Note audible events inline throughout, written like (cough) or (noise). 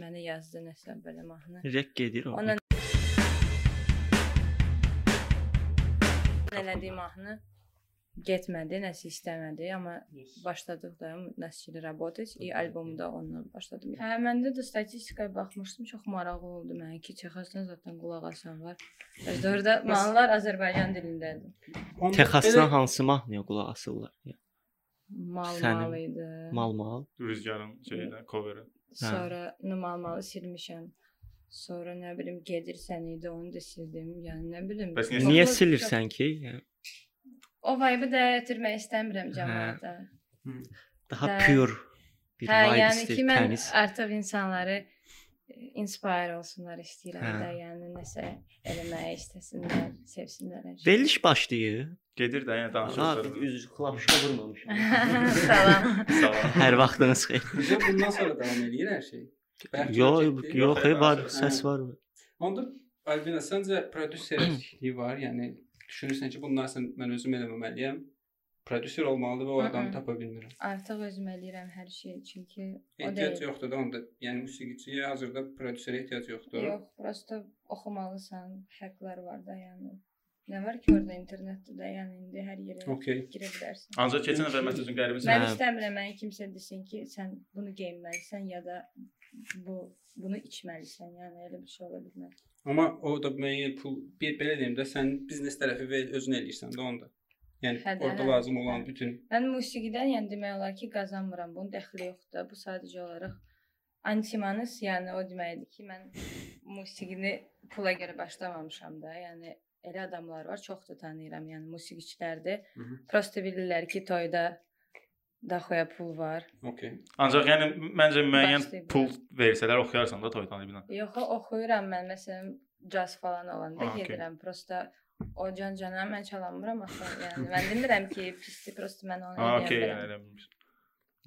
Məni yazdı nəsə belə mahnı. Rek edir o. Ona elədiyi mahnı getmədi, nəsə istəmədi, amma başladıq da nəsli работать и альбомda onunla başladım. Hə, məndə də statistikaya baxmışdım, çox maraqlı oldu mənə ki, Çexasdan zaten qulaq asan var. Özdə orada mahnılar Azərbaycan dilindədir. Onda Texasdan elə- hansı mahnıya qulaq asırlar? Ya, Mal Sənin- mal idi. Mal hə. mal. Rüzgarın şeydə coveri. Sonra normal malı silmişəm. Sonra nə bilim gedirsən idi, onu da sildim. Yəni nə bilim. Bəs niyə- çox- Niyə çox- silirsən ki? Yəni O vibe-ı da gətirmək Hə. istəmirəm cəmiyyətə. daha Də- pure bir Hə, vibe yəni ki, istəyir, mən təmiz. artıq insanları e, inspire olsunlar istəyirəm Hə. hə. də, yəni nəsə eləməyə istəsinlər, sevsinlər. hər (laughs) şey. Veriliş başlayır. Gedir də yəni yenə Ha, danışırsan. üzr, klapşa vurmamışam. Salam. Hər vaxtınız xeyir. Bizə bundan sonra davam eləyir hər şey. Bəlkə Yox, getdi. yox, hey, var, Hə. səs var. Onda Albina səncə prodüserlikliyi var, yəni düşünürsən ki, bunlar sən mən özüm eləməməliyəm. Prodüser olmalıdır və o adamı Mhm. tapa bilmirəm. Artıq özüm eləyirəm hər şeyi, çünki o Ehtiyac deyil. yoxdur da onda. Yəni musiqiçiyə hazırda prodüserə ehtiyac yoxdur. Yox, prosta oxumalısan, həqqlər var da, yəni. Nə var ki, orada internetdə də, yəni indi hər yerə Okey. girə bilərsən. Ancaq keçən dəfə məsəl üçün qəribə Mən Hə. istəmirəm məni kimsə desin ki, sən bunu geyinməlisən ya da bu bunu içməlisən. Yəni elə bir şey ola bilməz. Amma o da müəyyən pul bir belə deyim də sən biznes tərəfi və özün eləyirsən də onda. Yəni Hə də, orada hə. lazım olan bütün Mən musiqidən yəni demək olar ki, qazanmıram. Bunun dəxli yoxdur. Bu sadəcə olaraq antimanız, yəni o deməkdir ki, mən musiqini pula görə başlamamışam da. Yəni elə adamlar var, çox da tanıyıram, yəni musiqiçilərdir. Mhm. Prosta bilirlər ki, toyda daxoya pul var. okey. Ancaq yəni məncə müəyyən Başlayıb, pul versələr oxuyarsan da toydan ibinə. Yox, oxuyuram mən məsələn caz falan olanda Ah, okey. gedirəm. Prosta o can-cana mən çalamıram axı. Yəni mən demirəm ki, pisdir, prosta mən onu Ha, eləyə okey, bilərəm. yəni elə bilmiş.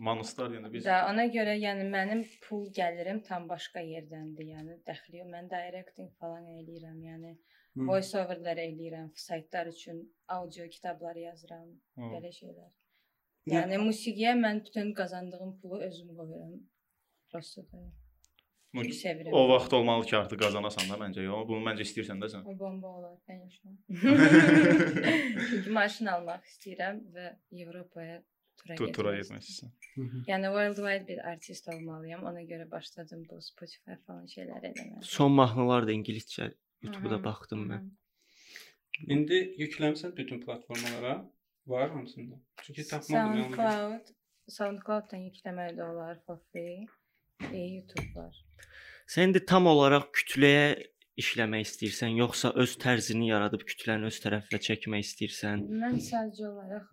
Manuslar yəni biz Da ona görə yəni mənim pul gəlirim tam başqa yerdəndir. Yəni dəxli yox. Mən directing falan eləyirəm. Yəni Hmm. voice overlər eləyirəm saytlar üçün, audio kitablar yazıram, Hı. belə şeylər. Nə- Yəni musiqiyə mən bütün qazandığım pulu özüm qoyuram. Prosta da. Bu- Çünki sevirəm. o vaxt olmalı ki, artıq qazanasan da məncə. Yox, bunu məncə istəyirsən də sən. O bomba olar, (laughs) конечно. Çünki maşın almaq istəyirəm və Avropaya tura Tu tura getmək istəyirəm. getmək istəyirsən. Yəni worldwide bir artist olmalıyam. Ona görə başladım bu Spotify falan şeylər eləməyə. Son mahnılar da ingiliscə YouTube-da Mhm, baxdım mən. İndi yükləmsən bütün platformalara var hamısında. Çünki tapmadım yəni. SoundCloud, SoundCloud-dan yükləmək də olar for free. E, YouTube var. Sən indi tam olaraq kütləyə işləmək istəyirsən, yoxsa öz tərzini yaradıb kütləni öz tərəfinə çəkmək istəyirsən? Mən sadəcə olaraq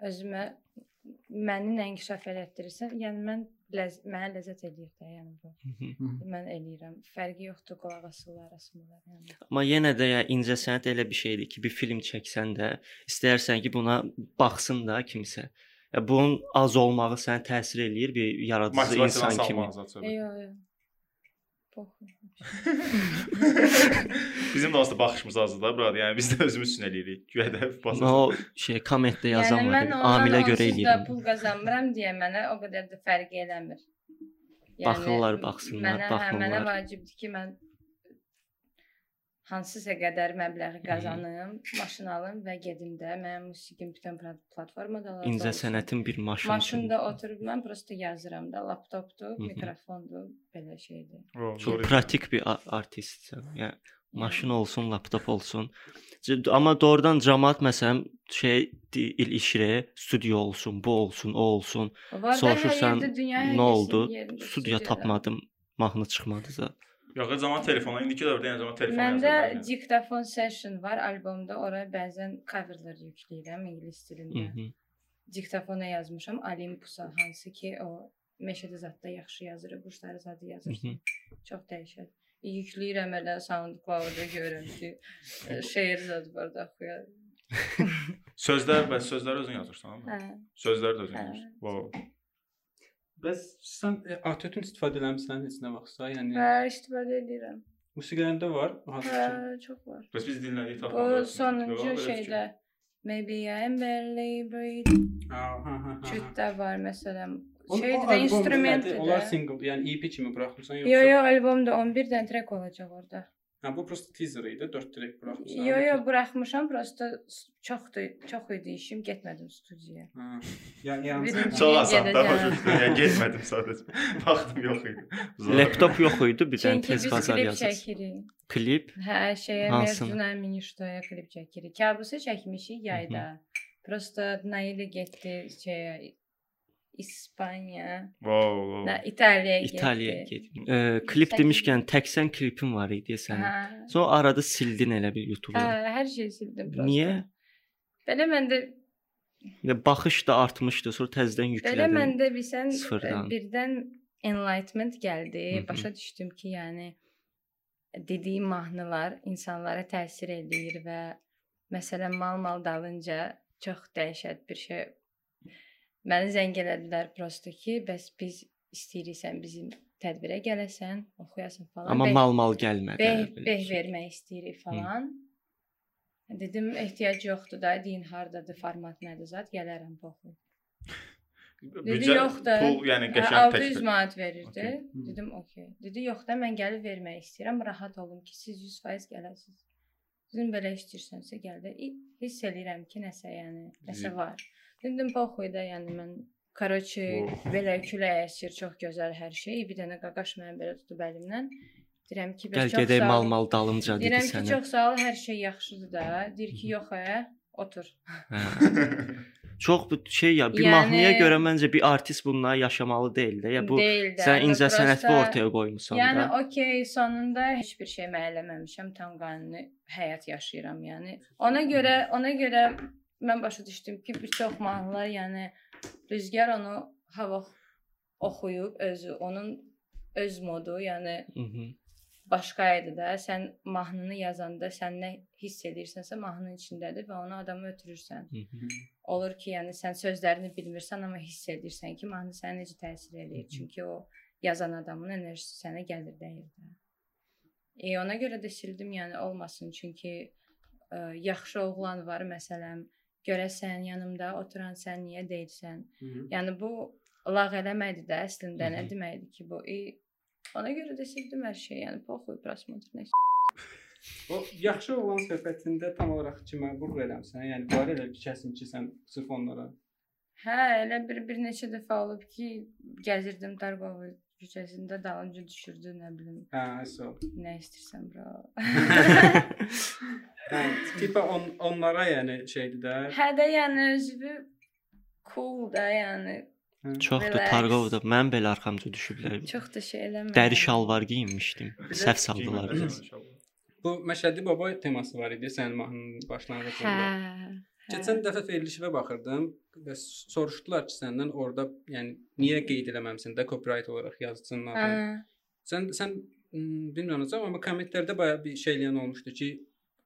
özümə məni nə inkişaf elətdirirsə, yəni mən ləz mənə ləzzət eləyir də, yəni bu. Mhm. Mən eləyirəm. Fərqi yoxdur qulaq asırlar, asmırlar. Yəni. Amma yenə də ya incəsənət elə bir şeydir ki, bir film çəksən də istəyirsən ki, buna baxsın da kimsə. Ya bunun az olmağı sənə təsir eləyir bir yaradıcı Motivasiyanı insan kimi. salmanıza söhbət. Yox, yox. Baxın. (laughs) Bizim də aslında baxışımız azdır da burada. Yəni biz də özümüz üçün eləyirik. Güya hədəf Amma basır. o şey kommentdə yazanlar mən yəni ondan amilə görə onsuz da eləyirəm. Pul qazanmıram deyə mənə o qədər də fərqi eləmir. Baxırlar, baxsınlar, mənə, hə, Mənə baxmırlar. vacibdir ki, mən hansısa qədər məbləği qazanım, maşın alım və gedim də. Mənim musiqim bütün plat- platformada var. İncəsənətin bir maşını. maşında oturub mən prosta yazıram da, laptopdur, Hı hı. mikrofondur, belə şeydir. Çox praktik bir a- artistsən. Yəni maşın olsun, laptop olsun. C- Amma doğrudan cəmaət məsələn şey di- il işrə, studiya olsun, bu olsun, o olsun. Var da hər Soruşursan, yerdə dünya hər nə oldu? hissənin yerində Studiya studiyalar. tapmadım, mahnı çıxmadı da. Yox, zaman telefona. İndiki dövrdə yəni zaman telefona. Məndə yazırlar, yəni. diktafon session var albomda. Oraya bəzən coverlar yükləyirəm ingilis dilində. Mhm. Diktafona yazmışam Olimpusa, hansı ki o Meşədə zətdə yaxşı yazır, quşları zadı yazır. Mhm. Çox dəyişir. Yükləyirəm elə SoundCloud-da görürəm ki, e, (laughs) şeir zad var da oxuyur. Sözlər bəs sözləri özün yazırsan amma. Hə. Sözləri də özün Hə. yazırsan. Wow. Bəs sən e, autotune istifadə eləmisən heç nə vaxtsa, yəni Hə, istifadə edirəm. musiqilərində var Hə, hazırki. çox var. Bəs biz dinlədik O tapmadı. sonuncu şeydə Maybe I'm barely breathing. Cütdə var məsələn. Şeydir də instrumentdir. Onlar də. single, yəni EP kimi buraxmısan yoxsa? Yo yo albomda 11 dənə track olacaq orada. Ha, bu prosta teaser idi. 4 track buraxmısan. Yo yo buraxmışam, prosta s- çoxdur, çox idi işim, getmədim studiyaya. Ha. Yəni yəni Birinci- Çox asan da Gedəcəm. başa düşdüm. Yəni getmədim sadəcə. Baxdım yox idi. Uzaq. Laptop yox idi, bir dənə Çünki biz tez bazar klip yazırsan. çəkirik. Klip Hə, şeyə Hansını? Mərcuna Miniştoya klip çəkirik. Kabusu çəkmişik yayda. Prosta Nailə getdi şeyə İspaniya, Wow. wow. nə İtaliyaya getdi. İtaliyaya getdim. E, klip Sən- demişkən tək sən klipin var idi sənin. Hə. Sonra arada sildin elə bir Hə, YouTube-dan. hər şey sildim prosta. Niyə? Belə məndə Və baxış da artmışdı, sonra təzədən belə yüklədin. məndə bilsən Sıfırdan. e, birdən enlightenment gəldi. Mhm. Başa düşdüm ki, yəni dediyim mahnılar insanlara təsir eləyir və məsələn mal-mal dalınca çox dəhşət bir şey. Məni zəng elədilər prosta ki, bəs biz istəyirsən bizim tədbirə gələsən, oxuyasan falan. Amma Bə- mal-mal gəlmədi. beh, Belə beh ki. vermək istəyirik falan. Dedim ehtiyac yoxdur da, deyin hardadır, format nədir zət, gələrəm baxım. Dedi Büdcə- yox da. Pul, yəni Hə, qəşəng 600 təklif. manat verirdi. Okey. Hmm. Dedim okey. Dedi yox da mən gəlib vermək istəyirəm, rahat olun ki, siz 100% gələsiniz. Dedim belə istəyirsənsə gəl də. İ- Hiss eləyirəm ki, nəsə yəni, nəsə Zi- var. Dedim baxoy da, yəni mən Karoçi Oh. belə külək əsir, çox gözəl hər şey. Bir dənə qaqaş məni belə tutub əlimdən. Deyirəm ki, Gəl bəs çox gedək sağ ol. mal-mal dalınca dedi Deyirəm ki, sənə. çox sağ ol, hər şey yaxşıdır da. Deyir ki, yox ə, otur. Hə. Çox bu şey ya bir Yəni- mahnıya görə məncə bir artist bununla yaşamalı deyil də. Ya bu Deyil də, sən bu incə sənətli prosta- ortaya qoymusan Yəni da. okey, sonunda heç bir şey məhəlləməmişəm, tam qanuni həyat yaşayıram, yəni. Ona görə, ona görə mən başa düşdüm ki, bir çox mahnılar, yəni rüzgar onu hava oxuyub özü, onun öz modu, yəni Mhm. başqa idi də. Sən mahnını yazanda sən nə hiss edirsənsə, mahnının içindədir və onu adama ötürürsən. mhm. olur ki, yəni sən sözlərini bilmirsən, amma hiss edirsən ki, mahnı sənə necə təsir eləyir. Çünki o yazan adamın enerjisi sənə gəlir deyir də. E ona görə də sildim, yəni olmasın, çünki ə, yaxşı oğlan var məsələn, görəsən yanımda oturan sən niyə deyirsən? Yəni bu lağ eləməkdir də, əslində nə Mhm. deməkdir ki, bu e, ona görə də sildim hər şeyi, yəni poxu, prosmotr nə O yaxşı olan söhbətində tam olaraq kimə qurur eləmsən? Yəni var elə bir kəsim ki, sən sırf onlara. Hə, elə bir bir neçə dəfə olub ki, gəzirdim Darqova küçəsində dalınca düşürdü, nə bilim, Hə, so. nə istəyirsən bura. Hə, tipa on, onlara yəni şeydir də. hə də yəni özü cool da, yəni Çoxdur Relax. Targovda. Mən belə arxamca düşüblər. çox da şey eləmir. Dəri şalvar geyinmişdim. Səhv saldılar. Geyinmədim, bizi. inşallah. Bu Məşədi baba teması var idi sənin mahnının başlanğıcında. Hə. Keçən dəfə verilişimə baxırdım və s- soruşdular ki, səndən orada, yəni niyə qeyd eləməmisən də copyright olaraq yazıçının hə. adını. Sən sən m, bilmirəm amma kommentlərdə baya bir şey eləyən olmuşdu ki,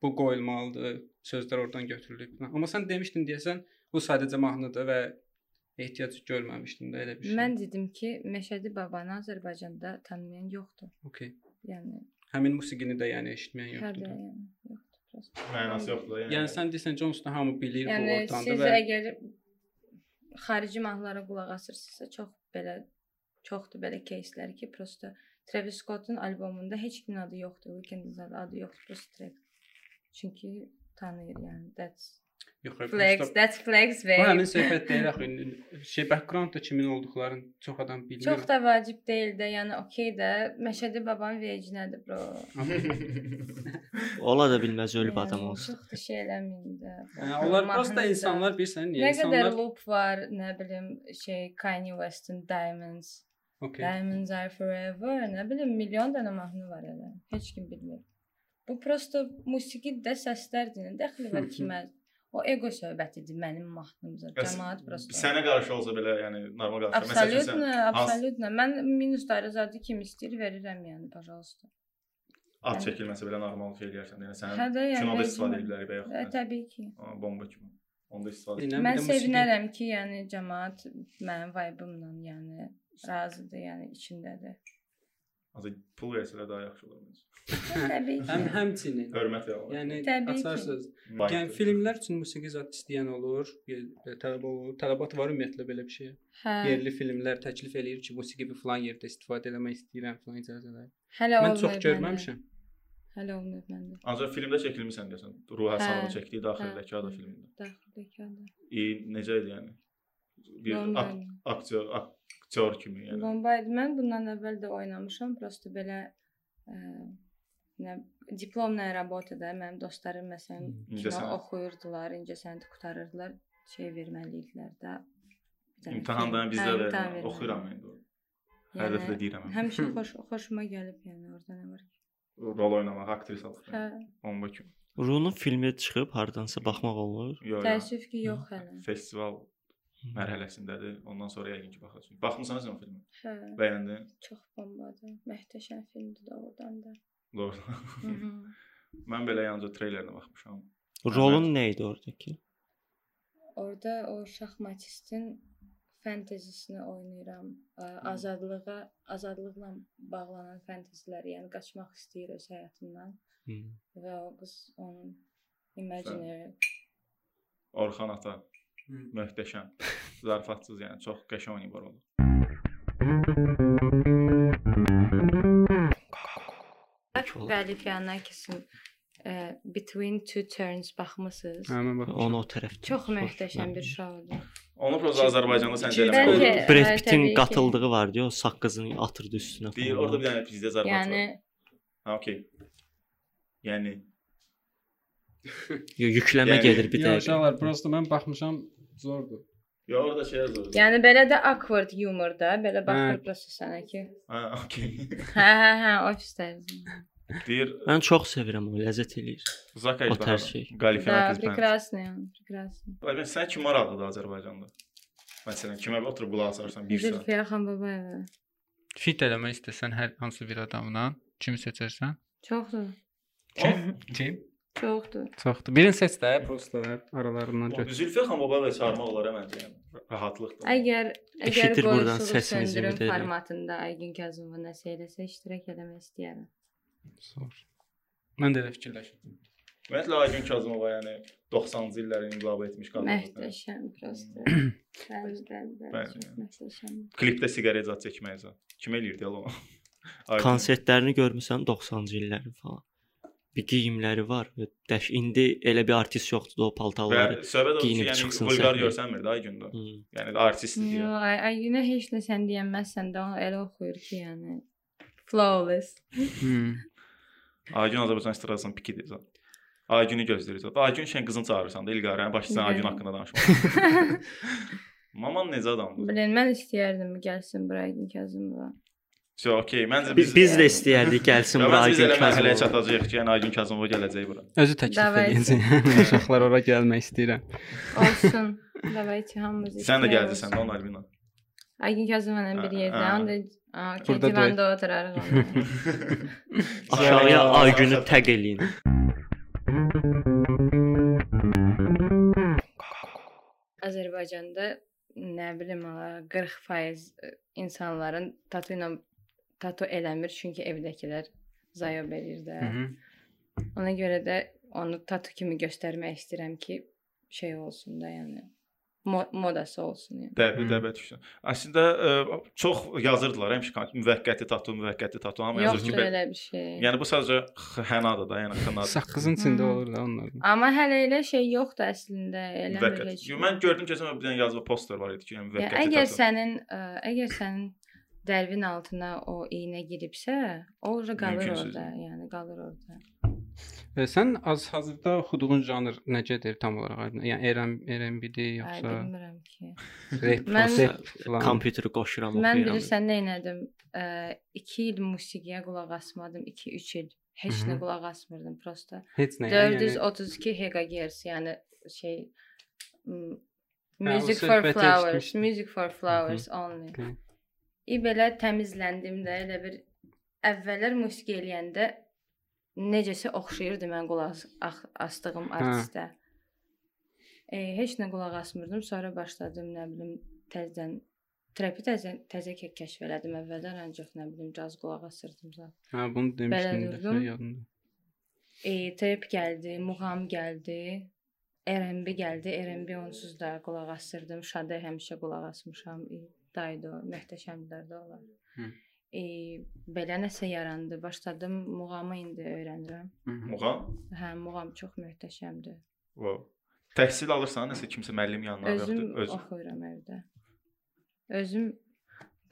bu qoyulmalıdır, sözlər oradan götürülüb. Amma sən demişdin deyəsən, bu sadəcə mahnıdır və ehtiyac görməmişdin də elə bir şey. Mən dedim ki, Məşədi babanı Azərbaycanda tanımayan yoxdur. Okay. Yəni Həmin musiqini də yəni eşitməyən hə yoxdur. də da. yəni yoxdur. prosta. Mənası yoxdur da, yəni. Yəni sən desən Johnston hamı bilir bu Yəni ordandır siz və əgər xarici mahnılara qulaq asırsınızsa çox belə çoxdur belə кейslər ki, prosta Travis Scott'un albomunda heç kimin adı yoxdur, Weekend-in zadı adı yoxdur, prosta track. Çünki tanıyır yəni. That's yox, flex, prosta- that's flex Bu həmin və söhbət deyil axı. indi. Şey background da kimin olduqlarını çox adam bilir. çox da vacib deyil də, yəni okey də Məşədi babanın vecinədir bro. Ola da bilməz ölüb Yəni, adam olsun. Çox da şey eləməyin də. Yəni, onlar prosta Mahnı da- insanlar bilirsən, niyə Nə qədər insanlar? loop var, nə bilim, şey Kanye West-in Diamonds. Okay. Diamonds are forever, nə bilim milyon dənə mahnı var elə. Heç kim bilmir. Bu prosta musiqi də səslərdir, dəxli var kimə. O ego söhbətidir mənim mahnımda. Bəs Cəmaət prosta. Sənə qarşı olsa belə, yəni normal qarşı. Məsəl üçün sən Absolutno, absolutno. Mən minus dərəcədə kim istəyir verirəm yəni, pожалуйста. ad çəkilməsə belə normal şey eləyirsən. Yəni Hə sənin də yəni. kinoda məcbur- istifadə ediblər və Ə, yox. E, Təbii ki. Aa, Bomba kimi. Onda istifadə Dinlə, bir Mən də musiqi- sevinərəm ki, yəni cəmaət mənim vibe-ımla, yəni razıdır, yəni içindədir. Azı pul versələr daha yaxşı olar məncə. E, Təbii Həm ki. həmçinin. Hörmət yalan. Yəni Təbii ki. açarsınız. Yəni filmlər üçün musiqi zad istəyən olur, bir- tələb olur. Tələbat var ümumiyyətlə belə bir şeyə. Hə. Yerli filmlər təklif eləyir ki, musiqi bir falan yerdə istifadə eləmək istəyirəm falan icazələr. Hələ Mən çox olmayıb məndə. görməmişəm. Hələ olmayıb məndə. Ancaq filmdə çəkilmisən desən. Ruh Həsənova Hə, çəkdiyi daxildəki ada filmində. Daxildəki adı. E, necə idi yəni? Bir Bomba ak aktyor aktyor kimi yəni. Bomba idi. Mən bundan əvvəl də oynamışam, prosta belə ə, nə diplomla работada mənim dostlarım məsələn Hmm, kino İncəsənət. oxuyurdular, incəsənət qurtarırdılar, şey verməli idilər də. Bir dənə film. İmtahandan Hə, bizdə də imtahan Yəni verməli. oxuyuram indi. Hər dəfə də deyirəm. (laughs) Həmişə xoş xoşuma gəlib yəni orada nə var. ki. Rol oynamaq, aktrisalıq. Hə, yəni. Bomba kimi. Runun filmi çıxıb hardansa baxmaq olur. Yox. yox. təəssüf yəni. ki, yox hələ. Festival Hə. mərhələsindədir. Ondan sonra yəqin ki baxacağıq. Baxmısan sən o filmi? Hə, Bəyəndin? çox bombadır. Möhtəşəm filmdir doğrudan da. Doğru. Mhm. (laughs) Mən belə yalnız treylerinə baxmışam. Hə. Rolun nə idi ordakı? Orda o şahmatistin fantezisini oynayıram. Ə, Azadlığa, azadlıqla bağlanan fanteziləri, yəni qaçmaq istəyir öz həyatından Hmm. və o qız onun imaginary Orxan ata Hı. (laughs) möhtəşəm. Zarafatsız yəni çox qəşəng oynayıb o rolu. Qalifianakisin e, Between Two Turns baxmısınız? Hə, mən bax. Onu o tərəfdə. Çox Xoş, möhtəşəm mən- bir şoudur. Onu proza Azərbaycanda sən İki- eləmək Bəlkə- olur. hə, Brad Pitt'in təbii ki. qatıldığı var deyə o saqqızını atırdı üstünə. Deyir falan. orada bir dənə pizdə zarafat Yəni var. Ha, okey. Yəni Yo, yüklənmə Yəni- gedir bir Yox, dəqiqə. uşaqlar, prosta mən baxmışam, zordur. ya orada şey yazılır. Yəni belə də awkward humor da, belə baxır Hə. prosta sənə ki. Ha, okey. (laughs) Hə, hə, hə, ofis tərzi. Deyir Mən çox sevirəm o ləzzət eləyir. Zak O tər şey. Aytbahar. Да, Qalifiyanatiz bəndə. прекрасный он, прекрасный. Bəlkə sən kim maraqlıdır Azərbaycanda? Məsələn, kimə oturub qulaq asarsan 1 saat. Zülfiyə Xanbabayeva. Fit eləmək istəsən hər hansı bir adamla kimi seçərsən? Çoxdur. (laughs) Kim? Çoxdur. Çoxdur. Birini seç də, prosta aralarından O, Zülfiyə xan babaları çağırmaq olar əməndə yəni. Rahatlıqdır. Əgər əgər Eşidir buradan qoyulsun səsimizi söndürüm müdəli. formatında Aygün Kazımova nəsə eləsə iştirak eləmək istəyirəm. Zor. Mən də elə fikirləşirdim. Ümumiyyətlə Aygün Kazımova yəni 90-cı illərin inqilabı etmiş qadındır. Möhtəşəm prosta. (clears throat) Bəli, bəli, Bəli, bəli. çox yəni. Möhtəşəm. Klipdə siqaret zad çəkməyə zad. Kim eləyirdi elə o? (laughs) Aygün. Konsertlərini görmüsən 90-cı illərin falan. Bir geyimləri var və dəş indi elə bir artist yoxdur da o Və paltarları. söhbət o ki, geyinib yəni çıxsın vulqar səhnəyə. görsənmir də Aygündə. Hmm. Yəni artistdir Yo, deyə. Ay Aygünə heç nə sən deyənməzsən də o elə oxuyur ki, yəni (laughs) flawless. Hmm. Aygün Azərbaycan istradasının pikidir zad. Aygünü gözləyirik zad. Aygün şən qızını çağırırsan da İlqarə başçısan Bəli. Aygün haqqında (laughs) danışmaq. Maman necə adamdır? Bilən mən istəyərdim gəlsin bura Aygün Kazımova. Şey, okey. Məncə Biz biz də istəyərdik gəlsin Ya bura Biz Aygün elə mərhələyə Kazımov. çatacağıq ki, yəni Aygün Kazımova gələcək bura. Özü təklif Davay. eləyəcək. Uşaqlar ora gəlmək istəyirəm. Olsun. (laughs) Davayçı hamımız. Sən də iştirak olsun. gələcəksən də Hə, onun albina. Aygün Kazımova bir Ə, yerdə, ə. onda a, okey, Burada divanda oturarıq. (laughs) onda. Aşağıya Aygünü təq eləyin. Azərbaycanda nə bilim ala 40% insanların tatu ilə tatu eləmir çünki evdəkilər zayob eləyir də. Mhm. Ona görə də onu tatu kimi göstərmək istəyirəm ki, şey olsun da, yəni mo- modası olsun yəni. Hı. Dəbi, Hmm. dəbi düşün. Əslində ə, çox yazırdılar həmişə kon- müvəqqəti tatu, müvəqqəti tatu, amma yazır ki, Yoxdur belə. elə bir şey. Yəni bu sadəcə x- hənadır da, yəni xınadır. Saqqızın içində Hı. olur da onlar. Amma hələ elə şey yoxdur əslində, eləmir Müvəqqəti. heç. Yo, Mən gördüm keçən bir dənə yazılı poster var idi ki, yəni Yəni, müvəqqəti əgər tatu. sənin ə, əgər sənin dərvin altına o iynə giribsə, o da qalır Mümkünsüz. orada, yəni qalır orada. E, sən az hazırda oxuduğun janr necədir tam olaraq? Aydın? Yəni RM RMB-dir Ay yoxsa bilmirəm ki. rap, Mən- konsert falan? Kompüteri qoşuram Mən oxuyuram. bilirsən nə elədim? 2 il musiqiyə qulaq asmadım, 2-3 il. Heç nə Mhm. qulaq asmırdım prosta. Heç nə. yəni- 432 HHz, yəni şey m, Hə, o Music for söhbəti Flowers, eşitmişdim. Music for Flowers only. Okey. İ belə təmizləndim də elə bir əvvəllər musiqi eləyəndə necəsə oxşayırdı mən qulaq as- ax- asdığım artistə. E, heç nə qulaq asmırdım, sonra başladım nə bilim təzədən Trapi təzə təzə kə- kəşf elədim əvvəldən ancaq nə bilim caz qulaq asırdım zat. Hə, bunu demişdin Belə də, durdum. yadımda. E, trap gəldi, muğam gəldi, R&B gəldi. R&B onsuz da qulaq asırdım. Şadə həmişə qulaq asmışam. E, Daydo, möhtəşəmlər də olar. Hı. E, belə nəsə yarandı. Başladım muğamı indi öyrənirəm. Mhm. Muğam. Hə, muğam çox möhtəşəmdir. Wow. Təhsil alırsan, nəsə kimsə müəllim yanına Özüm yoxdur, öz. oxuyuram evdə. Özüm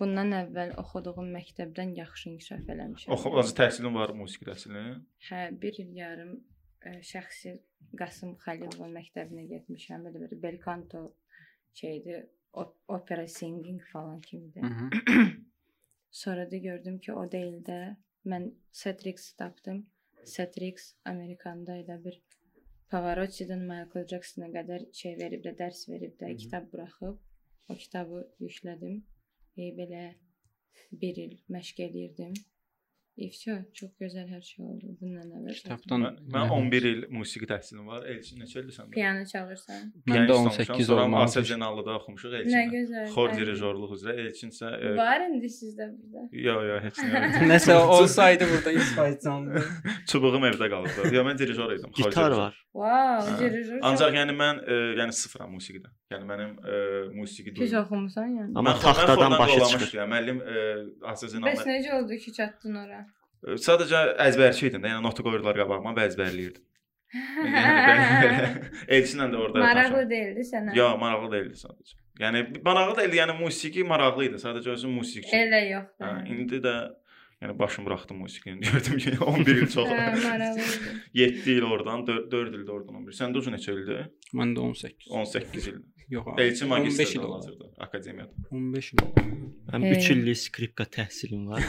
bundan əvvəl oxuduğum məktəbdən yaxşı inkişaf eləmişəm. Oxu, hansı təhsilin var musiqi təhsilinin? Hə, 1 il yarım ə, şəxsi Qasım Xəlilovun məktəbinə getmişəm. Belə bir belkanto şeydi, op- opera singing falan kimidir. Mhm. Sonra da gördüm ki, o deyil də mən Setrix tapdım. Setrix Amerikanda elə bir Pavarotti'dən Michael Jacksona qədər şey verib də, dərs verib də, Mhm. kitab buraxıb o kitabı yüklədim. E, belə 1 il məşq eləyirdim. E, всё, çox gözəl hər şey oldu bundan əvvəl. Kitabdan Mən, mən 11 il musiqi təhsilim var. Elçin neçə ildir sən? Piano çalırsan. Məndə 18 olmalı. Asə (laughs) Cənalıda oxumuşuq Nə Elçinlə. gözəl. Xor Ay. dirijorluq üzrə Elçin isə e, Var indi sizdə burada. Yo, yo, heç nə. (laughs) Nəsə olsaydı burada 100% canlı. Çubuğum evdə qalırdı. Yo, mən dirijor idim. xor Gitar dirijor. var. Wow, Hə. dirijor. Ancaq yəni mən e, yəni sıfıram musiqidə. Yəni mənim e, musiqi pis duyğum. oxumusan yəni. Amma taxtadan başa çıxır. Yəni müəllim e, Asə Bəs Cənalı necə oldu ki, çatdın ora? E, Sadəcə əzbərçi idim də, yəni nota qoyurlar qabağıma və (laughs) əzbərləyirdim. Yəni (laughs) belə- Elçinlə də orada Maraqlı tanışam. deyildi sənə. Ya maraqlı deyildi sadəcə. Yəni maraqlı deyildi, yəni musiqi maraqlı idi, sadəcə özüm musiqiçi. Elə yox. Hə, indi də yəni başım buraxdım musiqini. Gördüm ki, (laughs) 11 il çox. Hə, (laughs) maraqlı. 7 il oradan, 4, 4 ildə oradan 11. Səndə ucu neçə ildir? Məndə 18. 18 il. Yox. abi, 15 Elçin magistrdə il oldu. hazırda akademiyada. 15 il oldu. Mənim 3 Hey. illik skripka təhsilim var.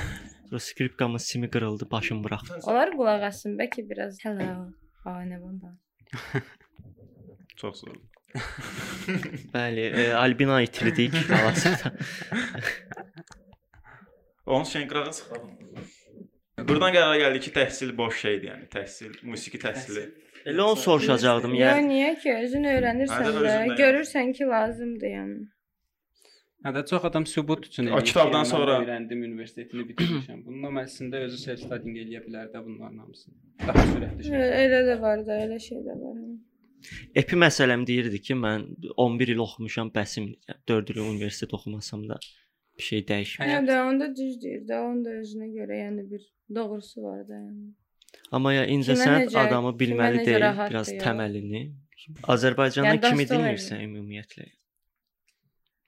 Sonra skripkamın simi qırıldı, başım buraxdı. Onlar qulaq asın bəlkə biraz. Hello. Ay nə bunda? Çox sağ ol. Bəli, e, Albina itirdik (laughs) xalası. Onun şenqırağını sıxdım. Burdan qərara gəldi ki, təhsil boş şeydir, yəni təhsil, musiqi təhsili. Elə onu soruşacaqdım. Ya Yəni niyə ki, özün Hə, öyrənirsən də də, özündən görürsən ki, lazımdır yəni. Hə də çox adam sübut üçün O eləyir ki, kitabdan mən sonra- öyrəndim, universitetini bitirmişəm. Bununla mən əslində özü self studying eləyə bilər də bunların hamısını. Daha sürətli Ə, şey. Elə də var da, elə şey də var. hə. epi məsələm deyirdi ki, mən 11 il oxumuşam, bəsim 4 il universitet oxumasam da bir şey dəyişmir. Hə Həyat- də onda düz deyir də, onun da özünə görə yəni bir doğrusu var da yəni. Amma ya incə Kimə sənət necə- adamı kimə bilməli necə deyil, rahatdır biraz ya. təməlini. Azərbaycanda Yəni kimi Dostoyevski. dinlirsən ümumiyyətlə?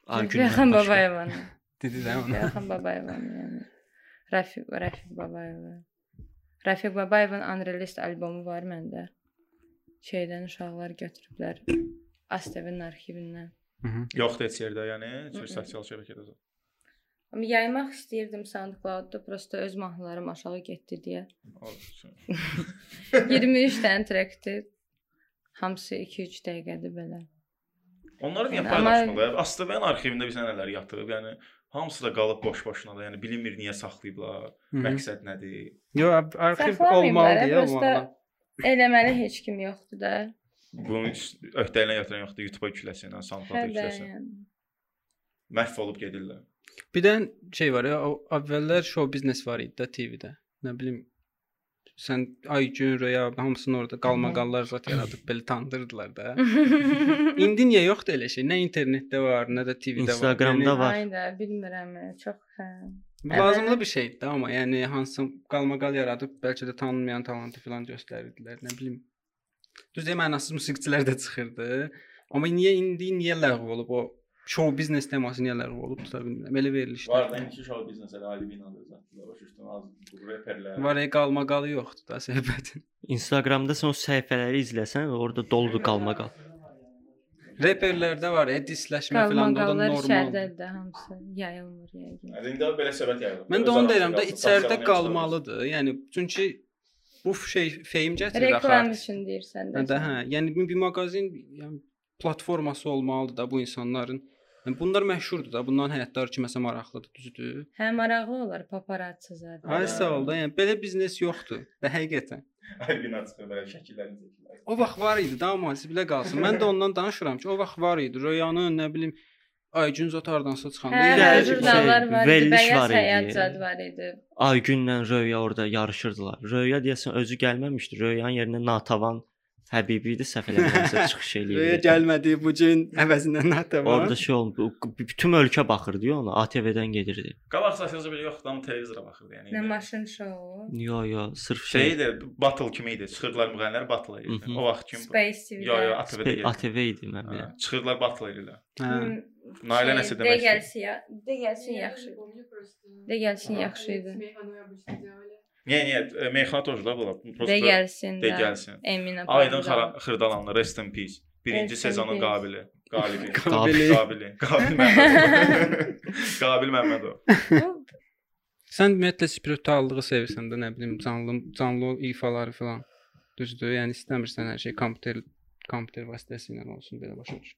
Agün Rəxan Babayevanı. Dedi də ona. Rəxan Babayevanı yəni. Rafiq Rafiq Babayev. Rafiq Babayevin Unreleased albomu var məndə. Şeydən uşaqlar götürüblər. Astevin arxivindən. Yoxdur heç yerdə, yəni Mm-mm. çox sosial şəbəkədə. yox. Amma yaymaq istəyirdim SoundCloud-da, prosta öz mahnılarım aşağı getdi deyə. O, şey. 23 dənə trackdir. Hamısı 2-3 dəqiqədir belə. Onları niyə Yəni, amma- paylaşmırlar? Aslında mən arxivimdə bir sənələr yatıb, yəni hamısı da qalıb boş boşuna da, yəni bilinmir niyə saxlayıblar, məqsəd nədir? Yox, arxiv olmalıdır ya onlarla. eləməli heç kim yoxdur da. Bunun öhdəliyinə yatıran yoxdur, YouTube-a yükləsinə, Hə SoundCloud-a də yükləsinə. yəni. Məhv olub gedirlər. Bir də şey var ya, o əvvəllər show biznes var idi də TV-də. Nə bilim sən Aygün, Röya hamısını orada qalmaqallar zət yaradıb belə tanıdırdılar da. (laughs) İndi niyə yoxdur elə şey? Nə internetdə var, nə də TV-də var. Instagramda Yəni, var. Ay da bilmirəm, çox hə. Bu lazımlı bir şeydir də, amma yəni hansı qalmaqal yaradıb bəlkə də tanınmayan talantı filan göstərirdilər, nə bilim. Düz deyim, mənasız musiqiçilər də çıxırdı. Amma niyə indi niyə ləğv olub o show biznes teması niyə ləğv olub tuta bilmirəm. Belə verilişlər. ki, şou biznesə ali binalar zətlər, başa düşdün, az reperlər. Var e qalmaqalı yoxdur da söhbətin. Instagramda sən o səhifələri izləsən, orada doludur qalmaqal. Reperlərdə var e disləşmə filan da o da Qalmaqallar normal. şərdədir hamısı. Yayılmır yəqin. Yəni indi belə səbət yayılıb. Mən də onu deyirəm də içəridə qalmalıdır. Yəni çünki bu şey fame gətirir axı. Reklam artist. üçün deyirsən də. Hə də hə, yəni bir bir mağazin yəni platforması olmalıdır da bu insanların. Yəni bunlar məşhurdur da, bunların həyatları kiməsə maraqlıdır, düzdür? Hə maraqlı olar paparazzi zaten. Ay sağ ol da, yəni belə biznes yoxdur. Və həqiqətən. Ali bina çıxır belə şəkillərini çəkirlər. O vaxt var idi da, amma siz bilə qalsın. Mən də ondan danışıram ki, o vaxt var idi. Röyanın, nə bilim, Aygün zat hardansa çıxanda. Hə, Də- hə, yəni- jurnallar şey, var idi, veriliş var bəyaz idi. həyatcad var idi. Aygünlə Röya orada yarışırdılar. Röya deyəsən özü gəlməmişdi. Röyanın yerinə Natavan Həbibi idi (laughs) səhv eləmirəmsə çıxış Röyə eləyirdi. gəlmədi bu gün əvəzindən nədə var? Orada şey oldu. Bütün ölkə baxırdı ya ona. ATV-dən gedirdi. Qabaq səsinizi belə yoxdu, amma televizora baxırdı yəni. Nə maşın şovu, Yo yo, sırf Şey şey idi, battle kimi idi. Çıxırdılar müğənnilər battle eləyirdi. Mhm. O vaxt kim? Space TV. Yo, yo, ATV-də Spe- gəldi. ATV idi mən Hə, bilirəm. Çıxırdılar battle eləyirlər. Hə. Nailə nəsə demək istəyir? Gəlsin, ya- de gəlsin yaxşı. De gəlsin Aha. yaxşı idi. Niyə, e, niyə? Meyxana тоже da bunlar. De gəlsin. De da. gəlsin. Eminə. Aydın Paxdan. Xara- Xırdalanlı Rest in Peace. Birinci Rest in sezonun peace. qabili. (laughs) Qalibi. Qabili. Qabili. Qabil Məmmədov. (laughs) Qabil Məmmədov. Bu, Sən ümumiyyətlə spirituallığı sevirsən də, nə bilim, canlı canlı ifaları filan. Düzdür? Yəni istəmirsən hər şey kompüter kompüter vasitəsilə olsun belə başa düş.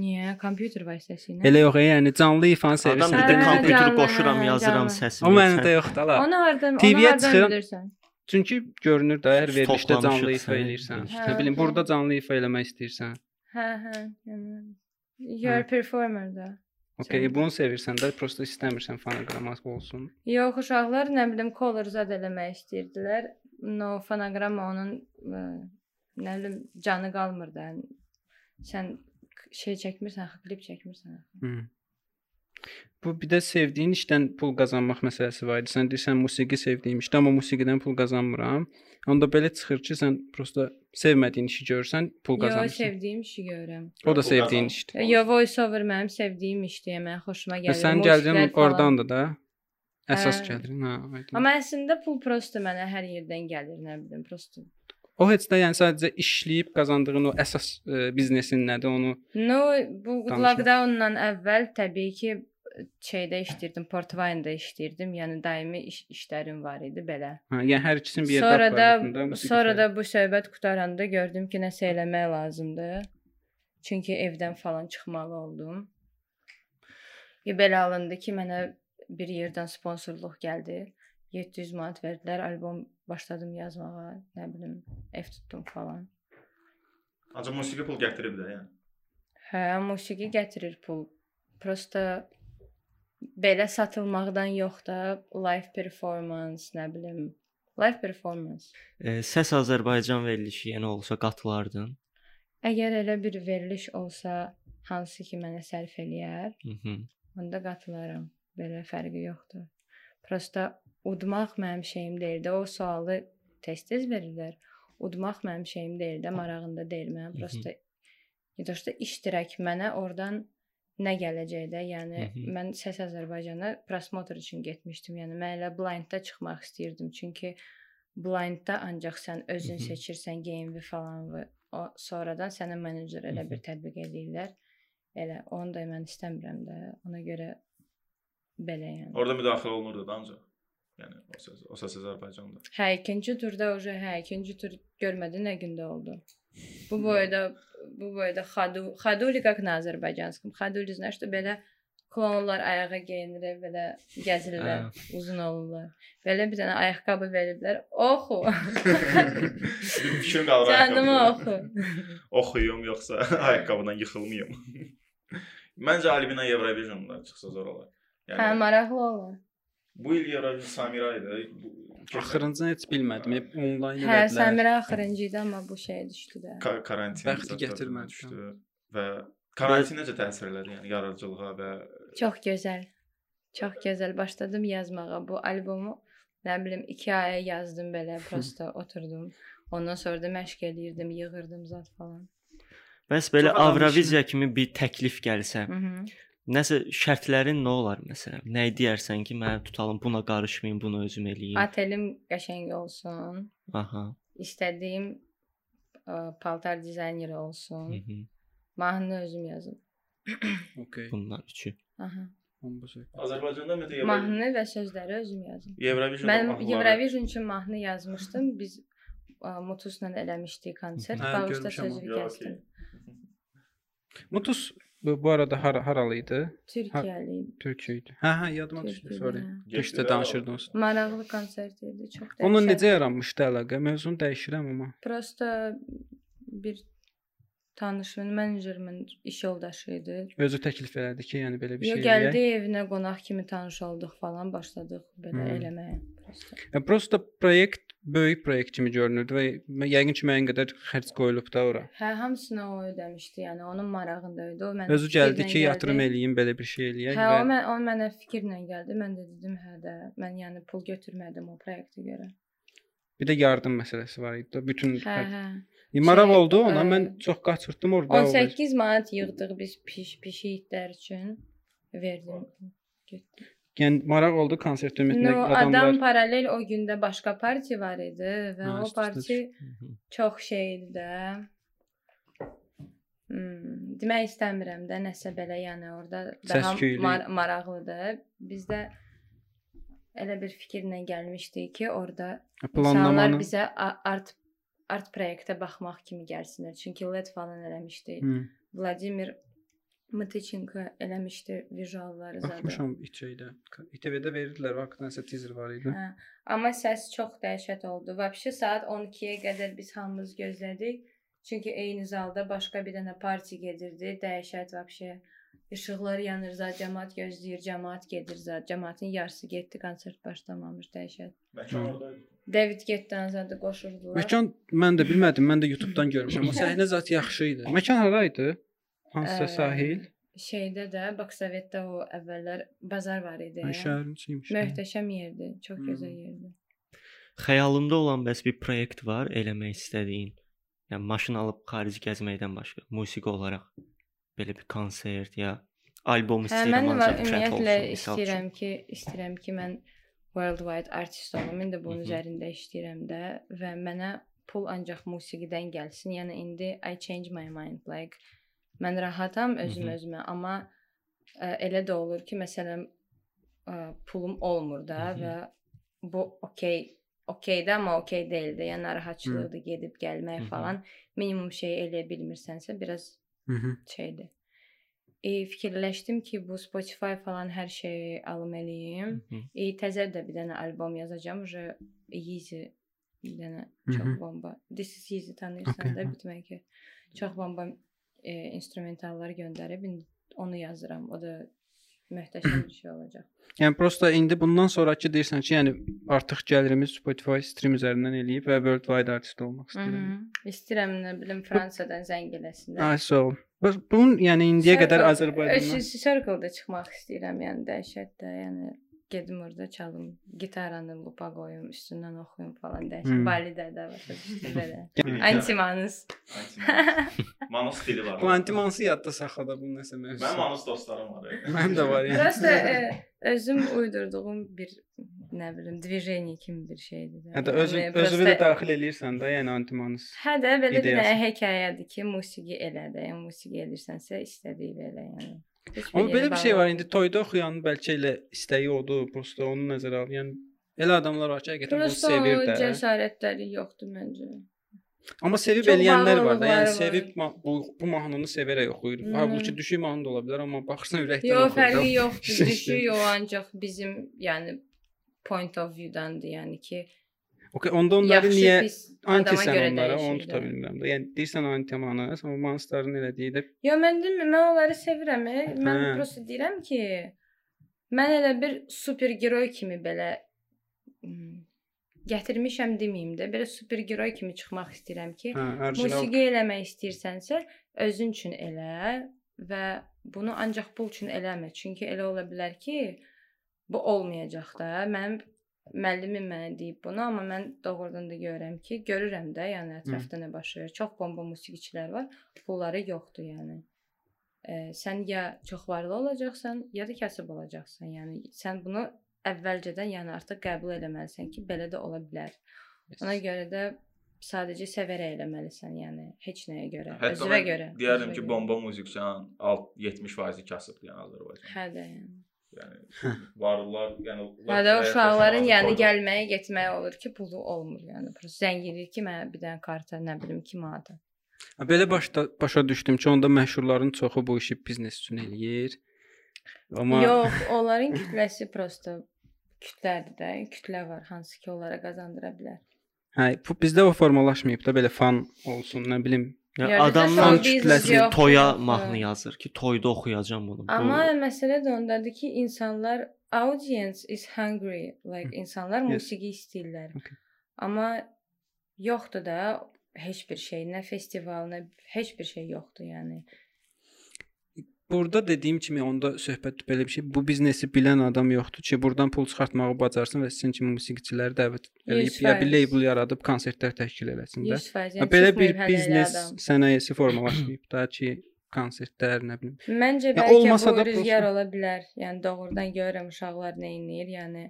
Niyə? Kompüter vasitəsilə. Elə yox, yəni canlı ifanı Adam sevirsən. bir də Hə, kompüter canlı, qoşuram, hə, yazıram canlı. səsini. O məndə yoxdur la. Onu hardan, onu TV-yə hardan çıxıram. bilirsən? Çünki görünür də hər verilişdə Toplamışıq canlı ifa səni. eləyirsən. Hə, Nə bilim, hə. burada canlı ifa eləmək istəyirsən. Hə, hə. Yəni Your performer da. Okay, Canlı. bunu sevirsən də, prosta istəmirsən fonoqrama olsun. Yox, uşaqlar nə bilim color zad eləmək istəyirdilər. No fonoqrama onun ə, nə bilim canı qalmır da. Yəni, Sən k- şey çəkmirsən, axı, klip çəkmirsən. axı. Hı. Bu bir də sevdiyin işdən pul qazanmaq məsələsi var idi. Sən deyirsən musiqi sevdiyim işdə, amma musiqidən pul qazanmıram. Onda belə çıxır ki, sən prosta sevmədiyin işi görsən, pul Yo, qazanırsan. sevdiyim işi görürəm. O da Pul sevdiyin qazan- işdir. Olur. Yo, voice over mənim sevdiyim işdir, yəni, mənə xoşuma Və gəlir. E, sən musiqilər gəlcən falan. oradandır da. Əsas Hə. gəlir. Hə, aydın. Amma əslində pul prosta mənə hər yerdən gəlir, nə bilim, prosta. O heç də yəni sadəcə işləyib qazandığın o əsas ə, biznesin nədir onu No, bu Danışma. lockdowndan əvvəl təbii ki şeydə işləyirdim, Portvaynda işləyirdim. Yəni daimi iş, işlərim var idi belə. hə, yəni hər ikisinin bir yerdə Sonra da aparatında musiqi sonra fəaliyyəti. da bu söhbət qutaranda gördüm ki, nəsə eləmək lazımdır. Çünki evdən falan çıxmalı oldum. Və belə alındı ki, mənə bir yerdən sponsorluq gəldi. 700 manat verdilər, albom başladım yazmağa, nə bilim, ev tutdum falan. Ancaq musiqi pul gətirib də yəni. Hə, musiqi gətirir pul. Prosta belə satılmaqdan yox da live performance, nə bilim, live performance. E, Səs Azərbaycan verilişi yenə olsa qatılardın. Əgər elə bir veriliş olsa, hansı ki mənə sərf eləyər, Mhm. onda qatılaram. Belə fərqi yoxdur. Prosta udmaq mənim şeyim deyil də, o sualı tez-tez verirlər. Udmaq mənim şeyim deyil də, marağında deyil mənim. Mhm. Prosta yadışda iştirak mənə oradan nə gələcək də, yəni Mhm. mən Səs Azərbaycana prosmotr üçün getmişdim. Yəni mən elə blindda çıxmaq istəyirdim, çünki blindda ancaq sən özün Mhm. seçirsən GMV falan və o sonradan sənə menecer elə Mhm. bir tətbiq eləyirlər. Elə onu da mən istəmirəm də. Ona görə belə yəni. Orada müdaxilə olunurdu da ancaq. Yəni o səs o səs Azərbaycanda. Hə, ikinci turda oje, hə, ikinci tur görmədi nə gündə oldu. Bu boyda bu boyda xadu, xaduli как на азербайджанском. Хадули знаешь, что belə klonlar ayağa geyinirlər, belə gəzirlər, uzun olurlar. Belə bir dənə ayaqqabı veriblər. Oxu. Bir fikrim qalır. (laughs) Canımı ayaqqabıda. oxu. Oxuyum (laughs) yoxsa ayaqqabıdan yıxılmayım. (laughs) Məncə Albina Eurovisionda çıxsa zor olar. Hə, Yəni maraqlı olur. bu il Eurovision Samira idi. Bu- Axırıncı heç bilmədim. Hep onlayn Hə, elədilər. Səmirə axırıncı idi, amma bu şeyə düşdü də. Ka- karantin Bəxti zətlərinə gətirmədi, düşdü və karantin necə təsir elədi yəni yaradıcılığa və Çox gözəl. Çox gözəl başladım yazmağa. Bu albomu nə bilim 2 aya yazdım belə, prosta oturdum. Ondan sonra da məşq eləyirdim, yığırdım zat falan. Bəs belə Çox adam Avroviziya kimi bir təklif gəlsə, Mhm. nəsə şərtlərin nə olar məsələn? Nə deyərsən ki, mənə tutalım, buna qarışmayım, bunu özüm eləyim. Otelim qəşəng olsun. Aha. İstədiyim ə, paltar dizayneri olsun. Mhm. Mahnını özüm yazım. Okay. Bunlar üçü. Aha. Onda şey. Azərbaycanda ümumiyyətlə Euro- Mahnını və sözləri özüm yazım. Eurovision Mən mahnıları- Eurovision üçün mahnı yazmışdım. Biz ə, Mutusla eləmişdik konsert. Hə, Bağışda görmüşəm sözü onu. Ya, okey. kəsdim. Mutus bu, bu arada har haralı idi? Türkiyəli idi. Türkiyə idi. Hə, hə, yadıma düşdü. Türkiyəli, Sorry. hə. Getdi Düşdü və- danışırdın sən. Maraqlı konsert idi, çox dəhşət. Onunla necə yaranmışdı əlaqə? Mövzunu dəyişirəm amma. prosta bir tanışımın menecerimin iş yoldaşı idi. Özü təklif elədi ki, yəni belə bir Yo, şey gəldi evinə qonaq kimi tanış olduq falan, başladıq belə Hmm. eləməyə. Prosta. Ya, prosta proyekt böyük proyekt kimi görünürdü və mə- yəqin ki, müəyyən qədər xərc qoyulub da ora. Hə, hamısını o ödəmişdi, yəni onun marağında idi. O mənə Özü gəldi fikirlə ki, yatırım eləyim, belə bir şey eləyək Hə, o, və mən, o mənə fikirlə gəldi. Mən də dedim, hə də, mən yəni pul götürmədim o proyektə görə. bir də yardım məsələsi var idi. da, Bütün E, Hə, hə. maraq Şey, e, oldu, ona ə, mən çox qaçırtdım orada. o vaxt. 18 manat yığdıq biz piş pişiklər üçün verdim. Getdi. Yəni maraq oldu konsert ümumiyyətlə No, adamlar. adam paralel o gündə başqa partiya var idi və Ha, ha, o üst-üstə partiya Mhm. çox şey idi də. Hmm, demək istəmirəm də nəsə belə, yəni orada daha Səs-küylü. mar maraqlıdır. Bizdə elə bir fikirlə gəlmişdik ki, orada insanlar planlamanı. bizə a- art art proyektə baxmaq kimi gəlsinlər. Çünki LED falan eləmişdi. Hı, Vladimir Matiçenko eləmişdi vizualları zaten. Baxmışam içəydə. ITV-də verirdilər, vaxtdansa teaser var idi. Hə. Amma səs çox dəhşət oldu. Vəbşi saat 12-yə qədər biz hamımız gözlədik. Çünki eyni zalda başqa bir dənə partiya gedirdi. Dəhşət vəbşi. İşıqlar yanır, zat cəmaət gözləyir, cəmaət gedir, zat cəmaətin yarısı getdi, konsert başlamamış dəhşət. Məkan orada. David getdən zadı qoşurdular. Məkan mən də bilmədim, mən də YouTube-dan görmüşəm. Amma səhnə zət yaxşı idi. Məkan hara idi? Hansısa Ə, sahil, Şeydə də Baksovetdə o əvvəllər bazar var idi. Ay, şəhərin içiymiş. Möhtəşəm yerdi, çox Hmm. gözəl yerdi. Xəyalımda olan bəs bir proyekt var eləmək istədiyin. Yəni maşın alıb xarici gəzməkdən başqa, musiqi olaraq belə bir konsert ya albom Hə, istəyirəm mən var- ancaq track ümumiyyətlə olsun. misal üçün. istəyirəm ki, istəyirəm ki, mən worldwide artist olum. İndi bunun Mhm. üzərində işləyirəm də və mənə pul ancaq musiqidən gəlsin. Yəni indi I change my mind like mən rahatam özüm Mhm. özümə, amma ə, elə də olur ki, məsələn ə, pulum olmur da Mhm. və bu okey okeydə amma okey deyildi. Yəni narahatçılıqdır gedib gəlmək Mhm. falan. Minimum şey eləyə bilmirsənsə, biraz Mhm. şeydi. E, fikirləşdim ki, bu Spotify falan hər şeyi alım eləyim. Mhm. E, təzə də bir dənə albom yazacağam. Uje Yeezy bir dənə Mhm. çox bomba. This is Yeezy tanıyırsan Okay, da mhm. bitmək ki. Çox bomba e, instrumentallar göndərib indi onu yazıram. O da möhtəşəm bir şey olacaq. Yəni prosta indi bundan sonrakı deyirsən ki, yəni artıq gəlirimiz Spotify stream üzərindən eləyib və worldwide artist olmaq istəyirəm. Mhm. İstəyirəm nə bilim Fransadan zəng eləsinlər. Ay sağ ol. Bəs bunun yəni indiyə qədər Circle- Azərbaycandan Öz- Circle-da çıxmaq istəyirəm, yəni dəhşətdə, yəni gedim orada çalım, gitaranı lupa qoyum, üstündən oxuyum falan dəhşət. Hmm. Hmm. Balidə də var işte belə. (laughs) Anti. Antimanız. Manos stili var. Plantimansı yadda saxladı bu nəsə Mənim mövzusu. Manos dostlarım var. (laughs) e. Mənim də var yəni. Prosta e, özüm uydurduğum bir nə bilim, движение kimi bir şeydir. də. Hə də özü Yəni, özünü də prosta- daxil eləyirsən də, yəni antimanız. Hə də belə bir dənə ideyası. hekayədir ki, musiqi elə də, yəni musiqi edirsənsə istədiyin elə yəni. Heç Amma yeri belə bir şey bağlı- var indi toyda oxuyanın bəlkə elə istəyi odur, prosta onu nəzərə al. Yəni elə adamlar var ki, həqiqətən bunu Prosta sevir o də. cəsarətləri yoxdur məncə. Amma sevib Çox eləyənlər var da, bağlılıqları yəni var. sevib ma- bu, bu mahnını sevərək oxuyur. Hmm. Halbuki düşük mahnı da ola bilər, amma baxırsan ürəkdən Yox, oxuyur. fərqi (laughs) Şey- yoxdur. Düşüyor o ancaq bizim, yəni point of view-dandır, yəni ki, Okay, onda onları yaxşı niyə pis adama görə antisən onlara, onu dəyişir. tuta də. bilmirəm də. Yəni deyirsən antimanı, amma monsterların elədiyi də Yox, mən demir, mən onları sevirəm. e. Mən Hə. prosta deyirəm ki, mən elə bir supergiroy kimi hmm, belə m, gətirmişəm deməyim də, belə supergiroy kimi çıxmaq istəyirəm ki, hə, orijinal. musiqi eləmək istəyirsənsə, özün üçün elə və bunu ancaq pul üçün eləmə. Çünki elə ola bilər ki, bu olmayacaq da. Mənim müəllimim mənə deyib bunu, amma mən doğrudan da görürəm ki, görürəm də, yəni ətrafda nə baş verir. Çox bomba musiqiçilər var, pulları yoxdur, yəni. E, sən ya çox varlı olacaqsan, ya da kasıb olacaqsan. Yəni sən bunu əvvəlcədən, yəni artıq qəbul etməlisən ki, belə də ola bilər. Ona görə də sadəcə sevərək eləməlisən, yəni heç nəyə görə, Hətta özünə mən görə. deyərdim özünə ki, görə. bomba musiqiçinin alt 70% kasıbdır yəni Azərbaycan. Hə də. yəni. Yəni varlılar, yəni Hə də o uşaqların yəni gəlməyə, getməyə olur ki, pulu olmur, yəni. Prosta zəng eləyir ki, mənə bir dənə karta, nə bilim, 2 manat. Ha, Belə başda, başa düşdüm ki, onda məşhurların çoxu bu işi biznes üçün eləyir. Amma Yox, onların kütləsi prosta kütlədir də, kütlə var hansı ki, onlara qazandıra bilər. hə, bu bizdə o formalaşmayıb da belə fan olsun, nə bilim, Yəni Yadında adamdan sən kütləsi yoxdur. toya mahnı yazır ki, toyda oxuyacam bunu. Bu- Amma məsələ də ondadır ki, insanlar audience is hungry, like insanlar Yes. musiqi istəyirlər. Okay. Amma yoxdur da heç bir şey, nə festival, nə heç bir şey yoxdur, yəni. Burada dediyim kimi onda söhbət belə bir şey. Bu biznesi bilən adam yoxdur ki, buradan pul çıxartmağı bacarsın və sizin kimi musiqiçiləri dəvət eləyib ya bir faiz. label yaradıb konsertlər təşkil eləsin də. 100% Yəni, yəni belə bir çıxmayıb hələlik biznes adam. sənayesi formalaşmayıb da ki, konsertlər, nə bilim. Məncə Ya bəlkə olmasa da bu rüzgar prosta- ola bilər. Yəni doğrudan görürəm uşaqlar nə edir, yəni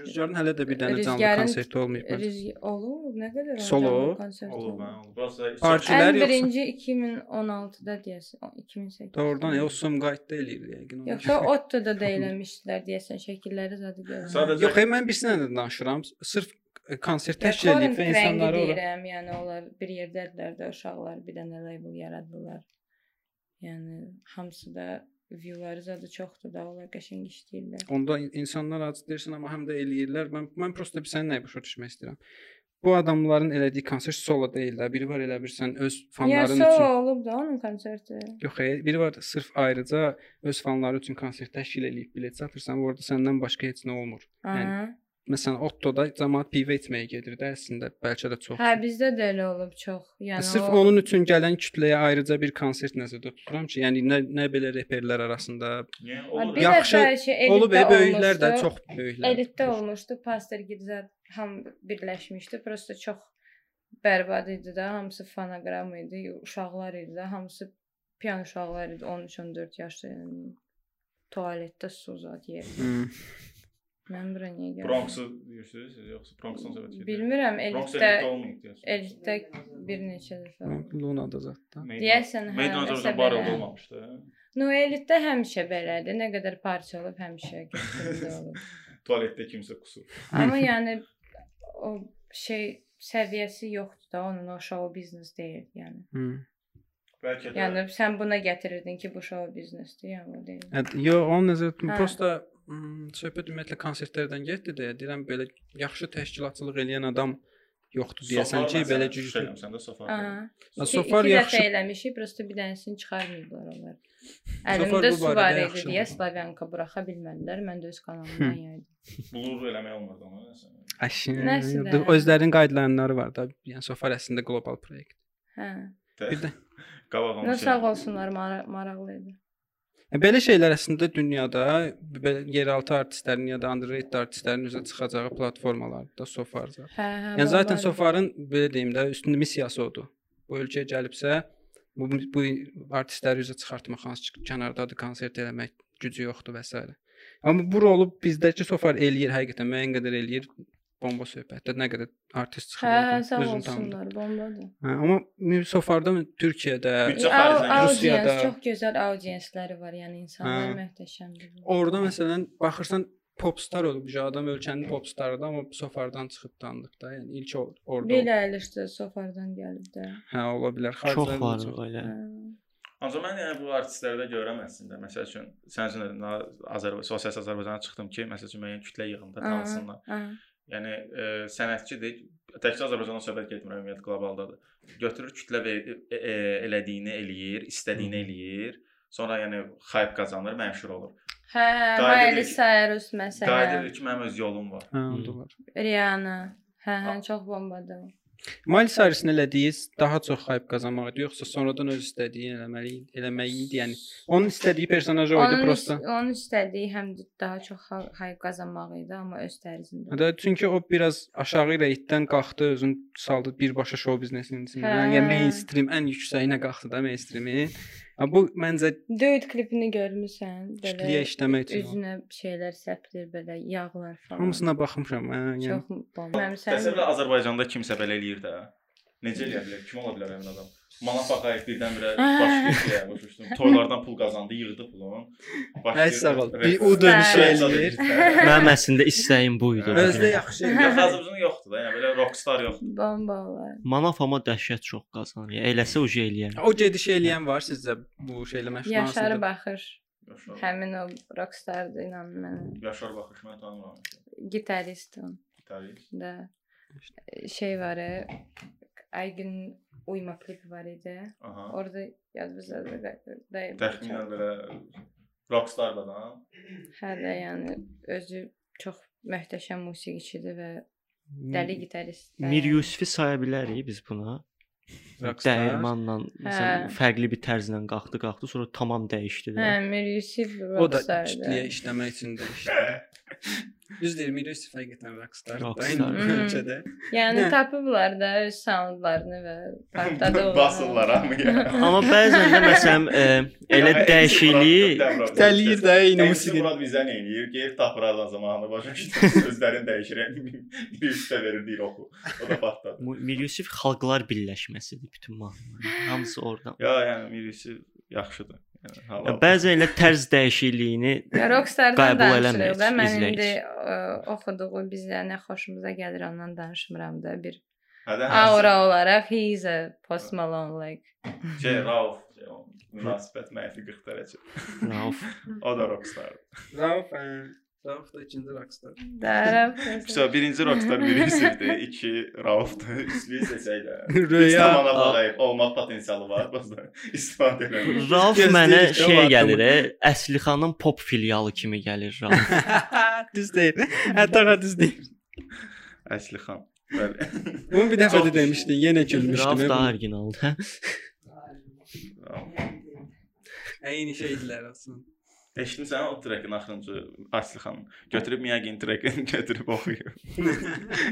Rüzgarın hələ də bir dənə canlı Rüzgarın- konserti olmayıb. məncə. rüz olur, nə qədər olacaq Solo? bu konsert? Olub, hə, olub. Prosta Parti- Ən Kişilər yoxsa- birinci 2016-da deyəsən, 2008. Doğrudan e, o Sumqayıtda eləyir yəqin. onu. Yoxsa Otto'da da eləmişdilər deyəsən, şəkilləri zadı görürəm. Sadəcə Yox, e, mən birsinə də danışıram. Sırf e, konsert təşkil Forum edib və rəngi insanları ora. deyirəm, yəni onlar bir yerdədirlər də uşaqlar, bir dənə label yaradılar. Yəni hamısı da viewları zadı çoxdur da, onlar qəşəng işləyirlər. Onda in- insanlar acı deyirsən, amma həm də eləyirlər. Mən mən prosta bir sənin nəyə başa düşmək istəyirəm. Bu adamların elədiyi konsert solo deyil də, biri var elə bilirsən öz Ya fanların solo üçün. olub da onun konserti. Yox, e, biri var sırf ayrıca öz fanları üçün konsert təşkil eləyib bilet satırsan, və orada səndən başqa heç nə olmur. Aha. Məsələn, Otto-da cəmaət pivə etməyə gedir də əslində, bəlkə də çox. E, Hə, bizdə də elə olub çox. Yəni Sırf o- onun üçün gələn kütləyə ayrıca bir konsert nəzərdə tuturam ki, yəni nə nə belə reperlər arasında Niyə? Ha, Olur. bir Ya, Yaxşı, dəfə şey, elitdə olub e, böyüklər də olmuşdu. çox böyüklər. Elitdə olmuşdu. Pastor Girzad ham birləşmişdi. Prosta çox bərbad idi də, hamısı fonoqram idi, uşaqlar idi də, hamısı piyan uşaqlar idi, 13-14 yaşlı. yəni. Tualetdə su zad yer. Hmm. Mən bura niyə gəldim? Bronxu deyirsiniz, siz yoxsa Bronxdan söhbət gedir? Bilmirəm, Bronx elitdə elitdə olmayıb deyəsən. elitdə bir neçə dəfə. olub. Luna da zətdə. Meydan- Deyəsən, hə, Meydan nəsə Azərbaycan bar belə. olmamışdı. No, elitdə həmişə belədir. Nə qədər parça olub, həmişə götürüldü olub. Tualetdə kimsə qusur. Amma yəni o şey səviyyəsi yoxdur da onun o show biznes deyil, yəni. Hmm. Bəlkə də Yəni sən buna gətirirdin ki, bu show biznesdir, yəni o deyil. Ət- Yo, onun nəzərdə Hə. prosta hmm, söhbət ümumiyyətlə konsertlərdən getdi deyə deyirəm belə yaxşı təşkilatçılıq eləyən adam yoxdur deyəsən ki, belə güclü. şeyəm səndə safar. Aha. Ya, İki, Sofar iki yaxşı. dəfə eləmişik, prosta bir dənəsini çıxarmayıblar onlar. Sofar Əlimdə bu su barədə var idi yaxşıdır. deyə Slavyanka buraxa bilmədilər. Mən də öz kanalımdan yaydım. Blur eləmək olmadı amma nəsə. Əşin. Nəsə də. Özlərinin qaydalarları var da. Yəni Sofar əslində qlobal proyekt. Hə. Tə- Bir də Qabağım. Nə sağ olsunlar, mara maraqlı idi. E, Belə şeylər əslində dünyada belə yeraltı artistlərin ya da underrated artistlərin üzə çıxacağı platformalarda Sofardır. Hə, hə. Yəni zaten vallahi. Sofarın belə deyim də üstündə missiyası odur. Bu ölkəyə gəlibsə bu bu artistləri üzə çıxartmaq, hansı ki, kənardadır, konsert eləmək gücü yoxdur və s. Amma bu rolu bizdəki Sofar eləyir həqiqətən müəyyən qədər eləyir. Bomba söhbətdə nə qədər artist çıxır. Hə, hə, oradan, sağ özünü tanıdır. olsunlar, bombadır. Hə, amma mü- Sofardan Türkiyədə Au- Büdcə xaricdən, Audience, Rusiyada- çox gözəl audiensləri var, yəni insanlar Hə. möhtəşəmdir. orada məsələn baxırsan popstar olub, bu adam ölkənin popstarıdır, amma Sofardan çıxıb tanınıb da. Yəni ilk o- orada. Belə əlişdə sofardan gəlib də. Hə, ola bilər. çox xaricdən var olacaq. elə. Ancaq mən yəni bu artistlərdə görürəm əslində. Məsəl üçün sənin üçün na- Azərbaycan sosial Azərbaycana çıxdım ki, məsəl üçün müəyyən kütlə yığımda tanısınlar. Hə. Yəni e, sənətçidir. Təkcə Azərbaycandan söhbət getmir, ümumiyyətlə globaldadır. Götürür kütlə ver, e, e, elədiyini eləyir, istədiyini eləyir. Sonra yəni hype qazanır, məşhur olur. Hə, hə, Qayıdır Miley ki- Cyrus Qayıdır məsələn. ki, mənim öz yolum var. Hə, onda var. Rihanna. Hə, hə, çox bombadır. Miles Harris-in elədiyi daha çox hype qazanmaq idi, yoxsa sonradan öz istədiyini eləməli eləməyi idi, yəni onun istədiyi personaj o idi Onun, is- prosta. onun istədiyi həm də daha çox ha- hype qazanmaq idi, amma öz tərzində. Da Hə çünki o biraz aşağı reytdən qalxdı, özün saldı birbaşa show biznesinin içində. Hə. Yəni mainstream ən yüksəyinə qalxdı da mainstreamin. Ha, Bu məncə Duet klipini görmüsən? kütləyə işləmək üçün. oldu. üzünə şeylər səpilir belə, yağlar falan. Hamısına baxmışam. Hə, yəni çox bomba. Mənim Təsəvvür sənin elə Azərbaycanda kimsə belə eləyir də. Necə eləyə bilər? Kim ola bilər həmin adam? Manaf Ağayev birdən-birə baş keçirə başladı. Toylardan pul qazandı, yığdı pulunu. Ay, sağ ol. Bir U dönüşü eləyir. (laughs) Mənim əslində istəyim bu idi. özdə (laughs) yaxşı. Yox, Azərbaycan yoxdur da, yəni belə rockstar yoxdur. bombalar. Manafama dəhşət çox qazanır. Ya, Eləsə o eləyər. O gediş eləyən var sizcə bu şeylə məşğul Yaşarı baxır. Yaşar. Həmin o rockstardır inan mənə. Yaşar baxış mən tanımıram. Gitarist o. Gitarist. da şey var, e, Aygün Uyma klipi var idi. Aha. Orada yaz bizə də dəyib. Təxminən belə rockstar adam. Hə də yəni özü çox möhtəşəm musiqiçidir və dəli gitarist. də. Mir Yusifi saya bilərik biz buna. Rockstar. Dəyirmanla, Hə. məsələn, fərqli bir tərzlə qalxdı, qalxdı, sonra tamam dəyişdi Hə, də. Mir Yusif O da rockstardır. kütləyə işləmək üçün dəyişdi. Düz deyir, Miris həqiqətən rockstar. Rockstar. Rockstar. (laughs) Mhm. Ölkədə. Yəni Hə. tapıblar da öz soundlarını və (laughs) partladı onu. Basırlar hamı yəni. Amma bəzən də məsələn, e, elə dəyişiklik Dəliyir də eyni Neyse musiqi. Murad bizden eğiliyor. Geyip tapıradan zamanında başka işte sözlerin değişir. (laughs) Bir üstte verir değil oku. O da patladı. Mu- Mir Yusif xalqlar birləşməsidir bütün mahnılar. Hamısı oradan. Ya yani birisi yaxşıdır. Yani hala. Ya, Bəzən elə tərz dəyişikliyini (laughs) Və Rockstardan Qəbul danışırıq da. eləmir, Mən izləyici. indi ə, oxuduğu bizə nə xoşumuza gəlir ondan danışmıram da bir Hadi aura olaraq he is a Post Malone like. Şey Rauf. Şey, o münasibət mənfi 40 dərəcə. Rauf O da rockstar. Rauf, hə. Rauf e, da ikinci (laughs) rockstar. Darab. Sonra birinci rockstar birisiydi. iki Rauf'du. (laughs) Üstlüyü seçəklə. Röya. İslam ana bağlayıb olmaq potensialı var. (laughs) Dostlar istifadə edelim. Rauf Gözləyirdik, mənə o şey adamı. gəlir, e, Əslixanın pop filialı kimi gəlir (laughs) Rauf. (laughs) düz deyir. Hətta ha düz deyir. Əslixan. (laughs) Bəli. Bunu bir dəfə Çox də demişdin, yenə gülmüşdüm. Rauf hə, daha bunu. orijinaldır. (laughs) Eyni şeydilər aslında. Eşitmisən o trekin axırıncı Aslixanın. Götürüb Miyagi trekin (laughs) götürüb oxuyub.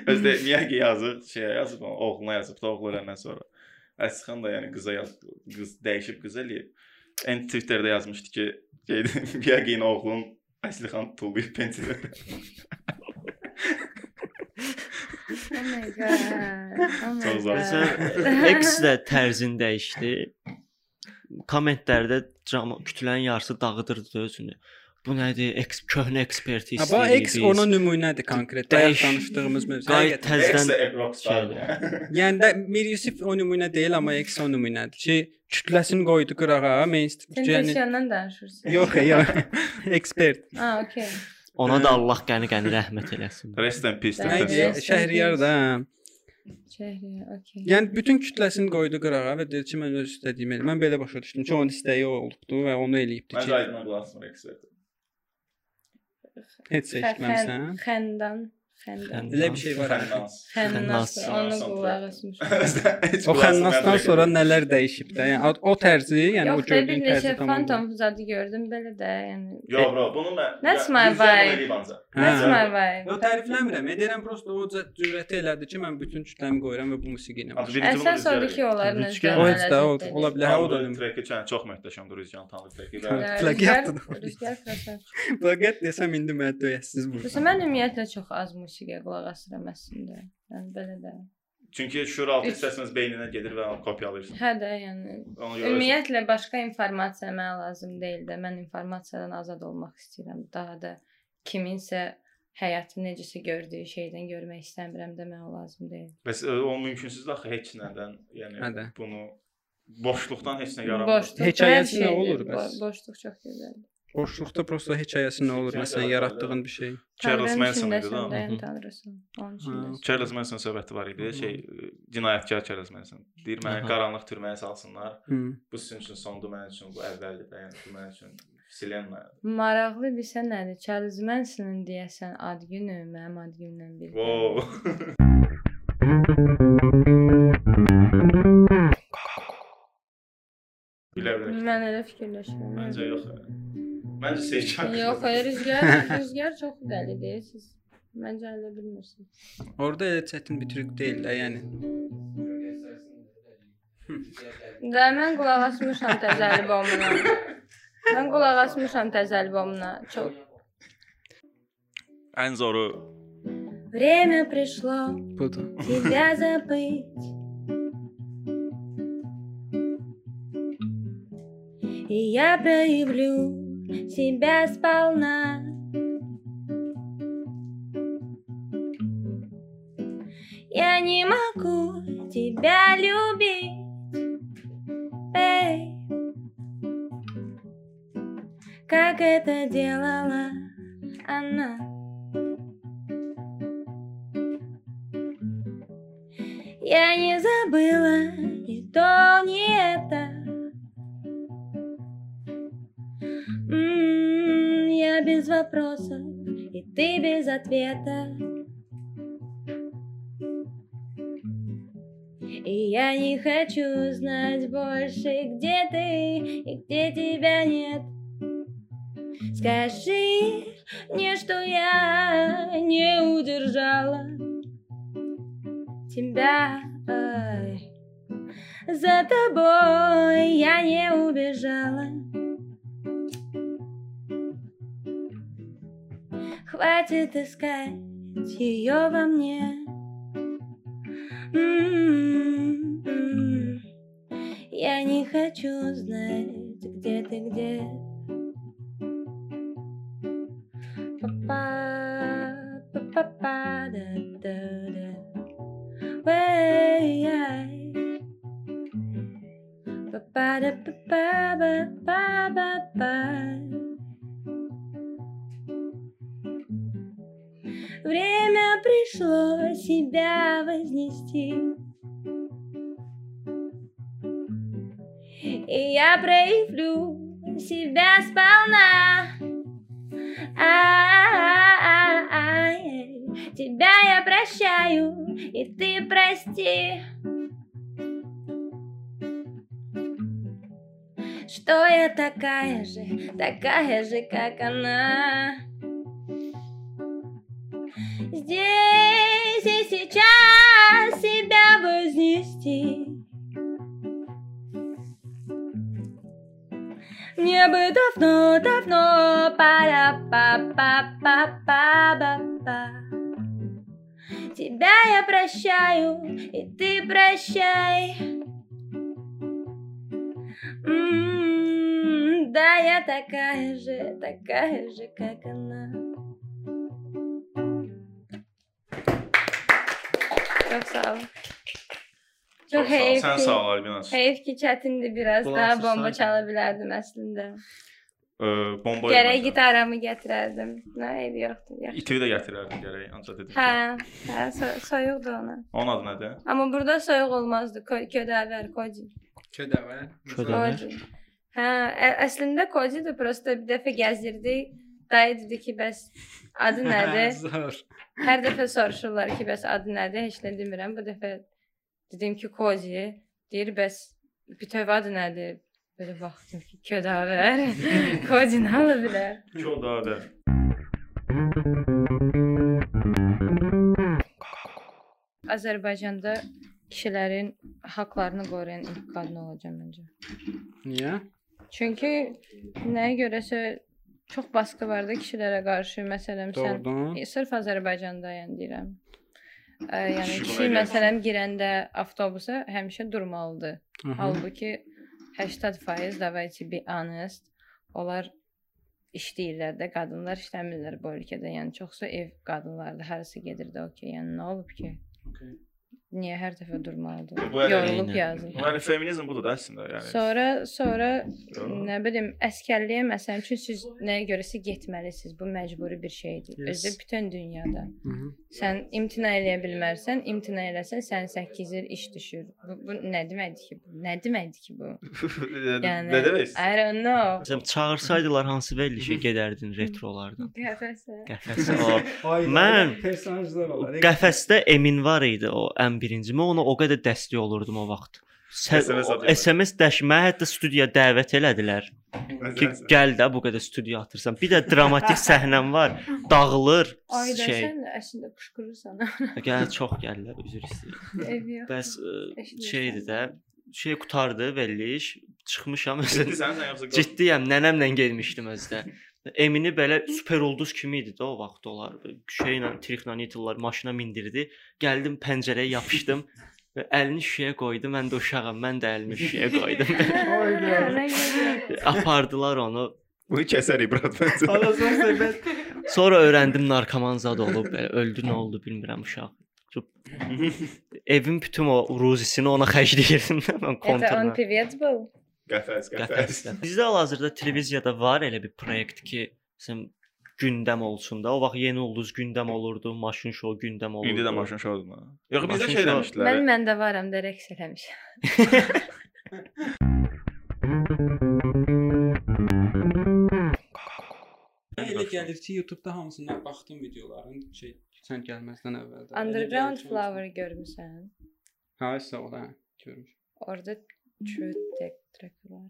Özdə Miyagi yazıb, şeyə yazıb, oğluna yazıb, da oğlu öləndən sonra. Aslixan da yəni qıza yaz, qız dəyişib qız eləyib. Ən Twitterdə yazmışdı ki, şeydi, (laughs) Miyagi-nin oğlun Aslixan tutulayıb pensiyadə. Oh my god. Oh my Çox (laughs) zor. god. Məsələn, X də tərzini dəyişdi. Kommentlərdə cama kütlənin yarısı dağıdırdı özünü. Bu nədir? Eks köhnə eksperti Ha, istəyir. bu X ona nümunədir konkret. Dəyər Dəyişik. danışdığımız mövzu. Qayıt Həqiqətən. Əzdən- Ex də rockstar. Yəni də Mir Yusif o nümunə deyil, amma X o Şey, nümunədir. Ki, kütləsini qoydu qırağa, mainstream. Sən Yəni tensiyondan danışırsan. yox, yox. Ekspert. Ha, okey. Ona Hə. da Allah qəni qəni rəhmət (laughs) eləsin. (laughs) Rest in peace. Bəli. Nədir? Texas. Ekspert. Şəhriyar da. hə. Şəhriyə, okey. Yəni bütün kütləsini qoydu qırağa və dedi ki, mən öz istədiyimi edirəm. Mən belə başa düşdüm ki, onun istəyi o olubdu və onu eləyibdi Məncə ki, aydın qulaqsın ekspert. heç Xə- seçməmisən. xən- Xəndan. Xəndan. Xəndan. Elə bir şey var. hə. (laughs) Xənnas. Xənnas. Onu qulaq asmışam. O xənnasdan sonra nələr dəyişib də. Yəni o- o tərzi, yəni o Yox, da bir gördüyün tərzi neçə tamam. fantom zadı gördüm belə də, yəni. Yo bro, bunu mən That's Ya, my düzgün bunu vibe. eləyib ancaq. That's Hə. my vibe. Yo tərifləmirəm. E, Deyirəm prosta o cə- cürəti elədi ki, mən bütün kütləmi qoyuram və bu musiqini. Amma birinci bunu Əsas rüzgar odur ki, onların Rüzgar. özləri O mənə heç də o- ləzzət ola verir. bilər. hə, O da (laughs) Tanrı treki çən çox möhtəşəm Rüzgan Tanrı treki. Tanrı. Və Yəni, Plagiat rüzgar- da- Rüzgar krasavçı. Fəqət desəm indi məni döyəsiz burada. Bəs mən ümumiyyətlə çox az musiqiyə qulaq asıram əslində. Yəni belə də. çünki şuraltı Üç. hissəsiniz beyninə gedir və onu kopyalayırsan. Hə də, yəni Ona görə özün- ümumiyyətlə başqa informasiya mənə lazım deyil də. Mən informasiyadan azad olmaq istəyirəm. Daha da kiminsə həyatı necəsə gördüyü şeydən görmək istəmirəm də mənə o lazım deyil. bəs ə, e, o mümkünsüzdür axı heç nədən, Hə yəni də. bunu boşluqdan heç nə yaranmır. Boşluq hər Hekayəsi nə şeydir. olur Bo- bəs? Boşluq çox gözəldir. Boşluqda prosta hekayəsi nə olur? Hekayə Məsələn, yaratmalı. yaratdığın bir şey. Charles Tanrının Manson idi içindəsən də, də. Hı yəni hı. tanrısan. Onun Hı. içindəsən. Charles Manson söhbəti var idi, şey ə, cinayətkar Charles Manson. Deyir məni Aha. qaranlıq türməyə salsınlar. Hı. Bu sizin üçün sondu mənim üçün, bu əvvəldir də, yəni bu mənim üçün Vселенная. Maraqlı bilsə nədir? Charles Manson'un deyəsən ad günü mənim ad günümdən biridir. Wow. Gülə bilərəm. Mən elə fikirləşirəm. Məncə yox. Məncə Seyçan. Yox, hayır, (laughs) rüzgar, rüzgar çox dəlidir. Siz məncə elə bilmirsiniz. Orda elə çətin bir trik deyil də, yəni. Və mən qulaq asmışam təzə albomuna. Mən qulaq asmışam təzə albomuna. Çox. Ən zoru Время пришло Budur. тебя забыть. И я проявлю себя сполна. Я не могу тебя любить, эй, как это делала она. Я не забыла ни то, ни это. М, М-м, Я без вопросов, и ты без ответа. И я не хочу знать больше, где ты и где тебя нет. Скажи мне, что я не удержала тебя. Ай. За тобой я не убежала. Хватит искать ее во мне. М, м. Я не хочу знать, где ты, где. Па-па, па-па-па, да-да-да. Way, ай. Па-па-да-па-па-па-па-па. Время пришло себя вознести. И я проявлю себя сполна. Ай, Тебя я прощаю, и ты прости. Что я такая же, такая же, как она. Здесь и сейчас себя вознести. Мне бы давно, давно пара па па па па ба па Тебя я прощаю, и ты прощай. М, М-м-м, да, я такая же, такая же, как она. Çok sağ olun. Çok, Çok sağ ol. heyifli. Sən sağ ol Albinaz. Heyif ki çətindir biraz Qulaq daha asırsan. bomba çala bilərdim əslində. Ee, bomba Gərək yapacağım. gitaramı gətirərdim. Nə ev yoxdur. yaxşı. İtivi də gətirərdim gərək, ancaq dedim. Hə, ki, hə, so soyuqdur ona. Onun adı nədir? Amma burada soyuq olmazdı. Kö ködəvər, koji. Kədəvə. Kədəvə. (laughs) Ködəvər? Koji. Hə, ə- əslində kojidir, prosta bir dəfə gəzdirdik. Dayı dedi ki, bəs adı (laughs) nədir? Zor. Hər dəfə soruşurlar ki, bəs adı nədir? Heç nə demirəm. Bu dəfə dedim ki, koji. Deyir, bəs bütöv adı nədir? Belə baxdım ki, (laughs) ködəvər. koji nə ola bilər? Çox daha da. Azərbaycanda kişilərin haqqlarını qoruyan ilk qadın olacağam məncə. Niyə? Çünki nəyə görəsə çox baskı var da kişilərə qarşı. Məsələn, sən Doğrudan. E, sırf Azərbaycanda yəni deyirəm. Ə, yəni Kişi kişi buna görə- məsələn girəndə avtobusa həmişə durmalıdır. Aha. Halbuki 80% davayçı bir honest. Onlar işləyirlər də, qadınlar işləmirlər bu ölkədə. Yəni çoxsa ev qadınlardır, hərəsi gedir də okey. Yəni nə olub ki? Okey. Niyə hər dəfə durmalıdır? Bu elə- Yorulub Eynən. yazır. Yəni feminizm budur da əslində, yəni. Sonra sonra Doğru. (laughs) nə bilim əskərliyə məsələn üçün siz nəyə görəsə getməlisiniz. Bu məcburi bir şeydir. Yes. Özü bütün dünyada. Mhm. Sən imtina eləyə bilmərsən, imtina eləsən sənin 8 il iş düşür. Bu, bu nə deməkdir ki? Bu? Nə deməkdir ki bu? Yəni Nə demək istəyirsən? I don't (laughs) know. Məsələn, çağırsaydılar hansı verilişə gedərdin retrolardan? Qəfəsə. Qəfəsə o. Ay, Mən- personajlar var. Qəfəsdə Emin var idi o ən birincimi. Ona o qədər dəstək olurdum o vaxt. Sə- SMS o- atıyorlar. SMS dəşmə hətta studiyaya dəvət elədilər ki, gəl də bu qədər studiya atırsan. Bir də dramatik səhnəm var. Dağılır Ay da şey. sən də əslində qışqırırsan. Gəl çox gəlirlər, üzr istəyirəm. (laughs) Ev yox. Bəs ə, Eşidirsən. şeydir (laughs) də şey qutardı veriliş. Çıxmışam özüm. Ciddi sən, sən yoxsa qorxdun? Ciddiyəm, yəni, nənəmlə getmişdim özdə. Emini belə super ulduz kimi idi də o vaxt onlar. Şeylə, trixlə itillər, maşına mindirdi. Gəldim pəncərəyə yapışdım və əlini şüşəyə qoydu. Mən də uşağam, mən də əlimi şüşəyə (laughs) qoydum. Ay, Hə, nə gözəl. Apardılar onu. Bunu kəsər (laughs) İbrad məncə. Anasını sevmez. Sonra öyrəndim narkoman zad olub, belə öldü, nə oldu bilmirəm uşaq. (laughs) Evin bütün o ruzisini ona xərcləyirdim də Это mən он kontrla. певец был? Qəfəs, qəfəs. Qəfəsdə. Bizdə hal-hazırda televiziyada var elə bir layihə ki, məsələn gündəm olsun da. O vaxt yeni ulduz gündəm olurdu, maşın şou gündəm olurdu. İndi də maşın şoudur da. Yox bizdə Maşın şey şou- demişdilər. Mən məndə varam da rəqs eləmişəm. Mən elə gəlir ki, YouTube-da hamısına baxdım videoların şey sən gəlməzdən əvvəldə. Elə Underground gəlir ki, hamısına- Flower görmüsən? Ha, sağ ol, hə, görmüş. Orada true tek track'ı var.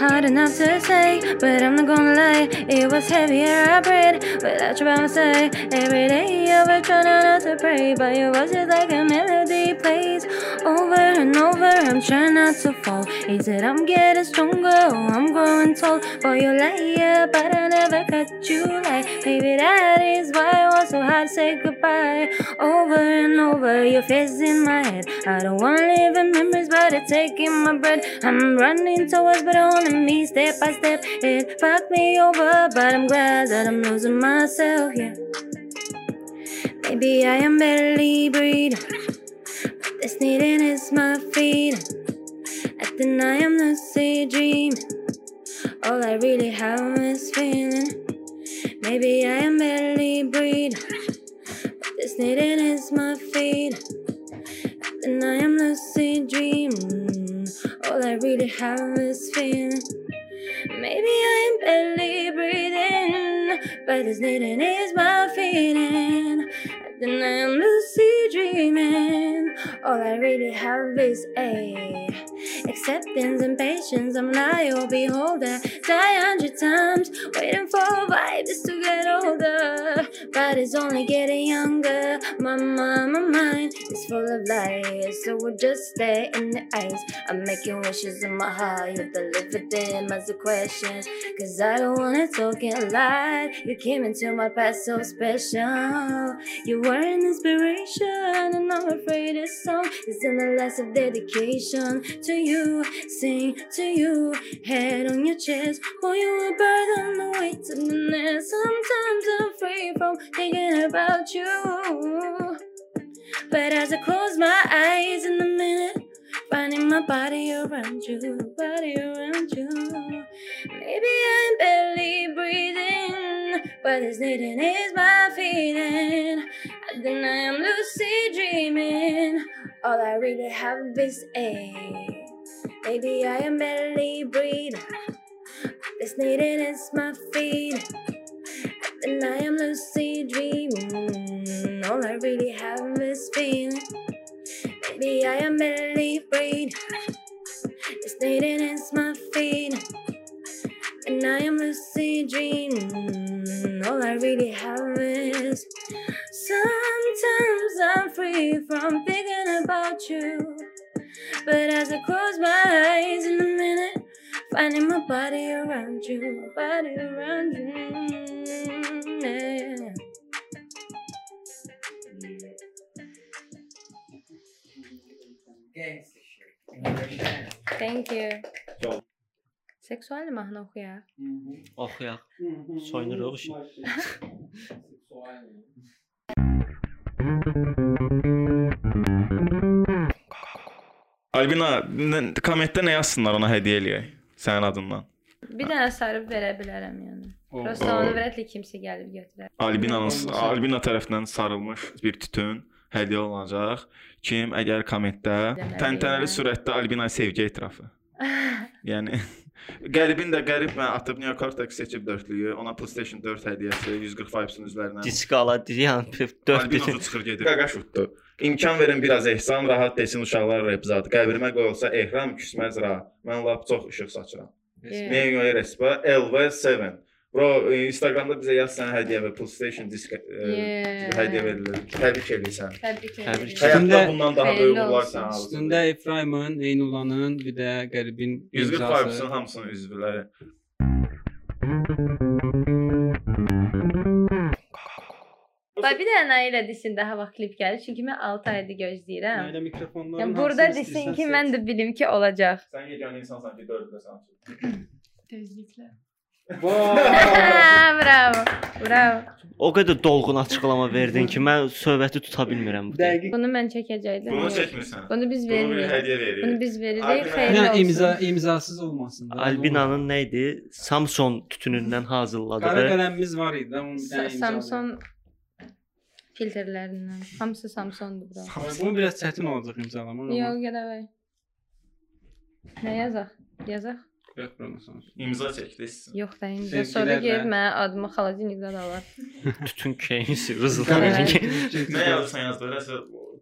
Hard enough to say, but I'm not gonna lie. It was heavier, I prayed, but I tried to say. Every day I was trying not to pray, but it was just like a melody plays over and over. I'm trying not to fall. Is it I'm getting stronger or I'm growing tall? For you liar, but I never cut you like. Maybe that is why it was so hard to say goodbye. Over and over, your face in my head. I don't wanna live in memories, but it's taking my breath. I'm running towards, but holding me step by step. It fucked me over, but I'm glad that I'm losing myself, yeah. Maybe I am barely breathing. But this needing is my freedom. I think I am lucid dreaming. All I really have is feeling. Maybe I am barely breathing. This knitting is my fate, and I am lucid dreaming. All I really have is feeling. Maybe I am barely breathing, but this knitting is my feeling. Then I am lucid dreaming. All I really have is a acceptance and patience. I'm an eye or beholder, die a hundred times, waiting for vibes to get older body's only getting younger. My, my, my mind is full of lies, so we'll just stare in the eyes. I'm making wishes in my heart, you deliver them as a question. Cause I don't wanna talk and lie. You came into my past so special. You were an inspiration, and I'm afraid this song is in the last of dedication to you. Sing to you, head on your chest. Boy, you a burden, the weight of the nest. Sometimes I'm free from thinking about you. But as I close my eyes in a minute, finding my body around you, body around you. Maybe I'm barely breathing, but this knitting is my feeling. Then I am lucid dreaming. All I really have is a. Maybe I am barely breathing. This knitting is my feet. And I am lucid dreaming. All I really have is feeling. Maybe I am barely breathing. This knitting is my feet. And I am lucid dreaming. All I really have is. Sometimes I'm free from thinking about you. But as I close my eyes in a minute, finding my body around you, my body around you. Yeah. Thank you. Ah, Seksual mahnı oxuyaq. Oxuyaq. (laughs) Soyunuruq işi. Albina, nə- kommentdə nə yazsınlar ona hədiyyə eləyək sənin adından? Bir dənə sarıb verə bilərəm yəni. Prosta Oo. onu vərətlə kimsə gəlib götürər. (laughs) Albinanın Olmasa. Albina tərəfindən sarılmış bir tütün hədiyyə olunacaq. Kim əgər kommentdə Deməli, təntənəli yəni. sürətdə Albina sevgi etirafı. (laughs) Yəni qəribin də qərib mən atıb New Cortex seçib dörtlüyü, ona PlayStation 4 hədiyyəsi 140 vibes-in üzlərinə. Diskala, yəni 4 Albinozu bitin. çıxır gedir. Qaqaş utdu. İmkan verin biraz ehsan, rahat desin uşaqlar repzad. Qəbrimə qoyulsa ehram küsməz ra. Mən lap çox işıq saçıram. Yeah. Neye göre respa? LV7. Bro, e, Instagram'da bize yaz sana hediye ve PlayStation disk e, Yeah. hediye verilir. Tebrik edeyim sen. Təbrik Təbrik edirəm. edirəm. Hayatta bundan daha Hayırlı büyük uğurlar olsun. sen alırsın. Üstündə Efraimın, Eynulanın, bir də qəribin 140 imzası. Fives'ın hamısının üzvləri. Bax bir dənə Nailə desin daha vaxt klip gəlir, çünki mən 6 aydır gözləyirəm. Nailə mikrofonların Yəni burada hamısını desin istəyirsən ki, seç. mən də bilim ki, olacaq. Sen yegan insansan ki 4 sanki. Tezliklə. Bravo. Bravo. O qədər dolğun açıqlama verdin ki, mən söhbəti tuta bilmirəm bu. dəqiqə. Bunu mən çəkəcəkdim. Bunu çəkmirsən. Bunu biz Bunu bir vermirik. hədiyyə veririk. Bunu biz veririk. Albina- Xeyirli Yəni olsun. imza imzasız olmasın. da. Albinanın nə idi? Samson tütünündən Qara hazırladığı. qələmimiz var idi, onun bir Sa- dənə imzalı. Samson filtrlərindən. Hamısı Samsondur bura. Bunu biraz çətin olacaq imzalamaq. amma Yox, gələk. Nə yazaq? Yazaq? yox, bundan sonra. İmza çəkdiniz. Yox da indi. Sevgilərlə. Sonra gəlib mənə adımı xalacinikdə də alar. Tütün keyinsi, (laughs) rızlanır. Nə yazırsan yaz da, rəsə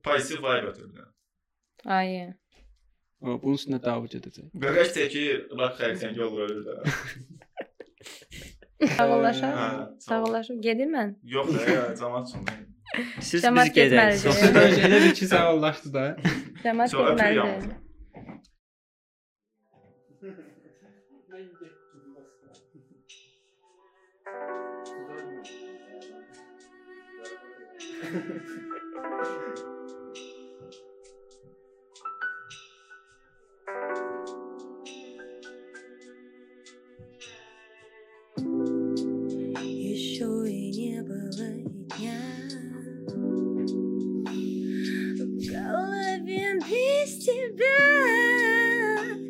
passiv vibe ötürür. Ay. O, Bunun üstünə dava gedəcək. Qaqaş çəkir, bax xərçəng olur ölür də. Sağollaşaq. Ha, Sağollaşaq. Gedim mən. Yox da, ya, cəmat sonra. Siz Cəmaət biz gedərik. getməlidir. Sonra- Elə bir iki sağollaşdı da. Cəmaət Sonra öpür yalnız. getməlidir. Еще и не было и дня В голове без тебя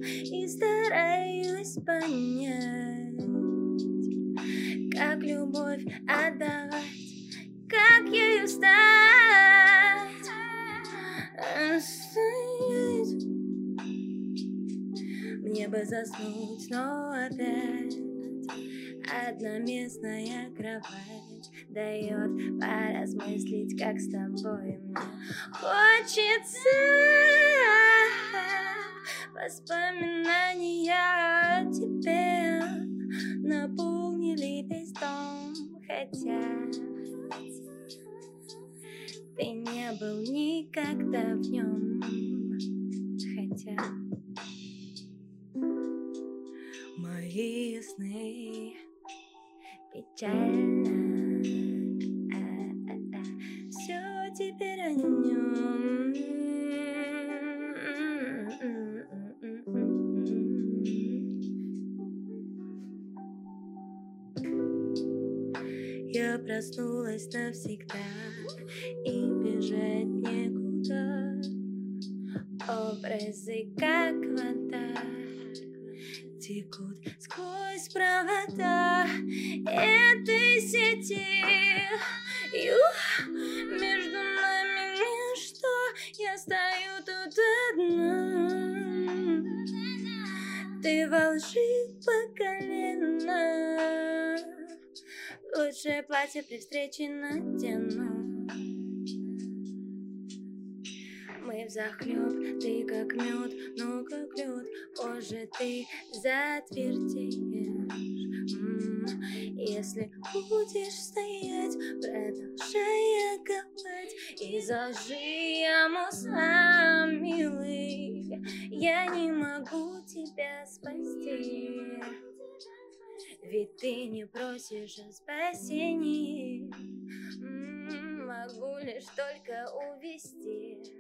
И стараюсь понять Как любовь отдавать Как ею стать Стоять. Мне бы заснуть, но опять Одноместная кровать дает поразмыслить, как с тобой мне хочется воспоминания о тебе наполнили весь дом, хотя ты не был никогда в нем, хотя мои сны печально. Все теперь о нем. Я проснулась навсегда и бежать некуда. Образы как вода текут сквозь провода этой сети. Юх, между нами ничто, я стою тут одна. Ты во лжи по колено. Лучшее платье при встрече надену. Мы взахлеб, ты как мед, ну как лед, позже ты затвердеешь М, Если будешь стоять, продолжая копать И зажги яму сам, милый Я не могу тебя спасти ведь ты не просишь о м-м, спасении М, Могу лишь только увести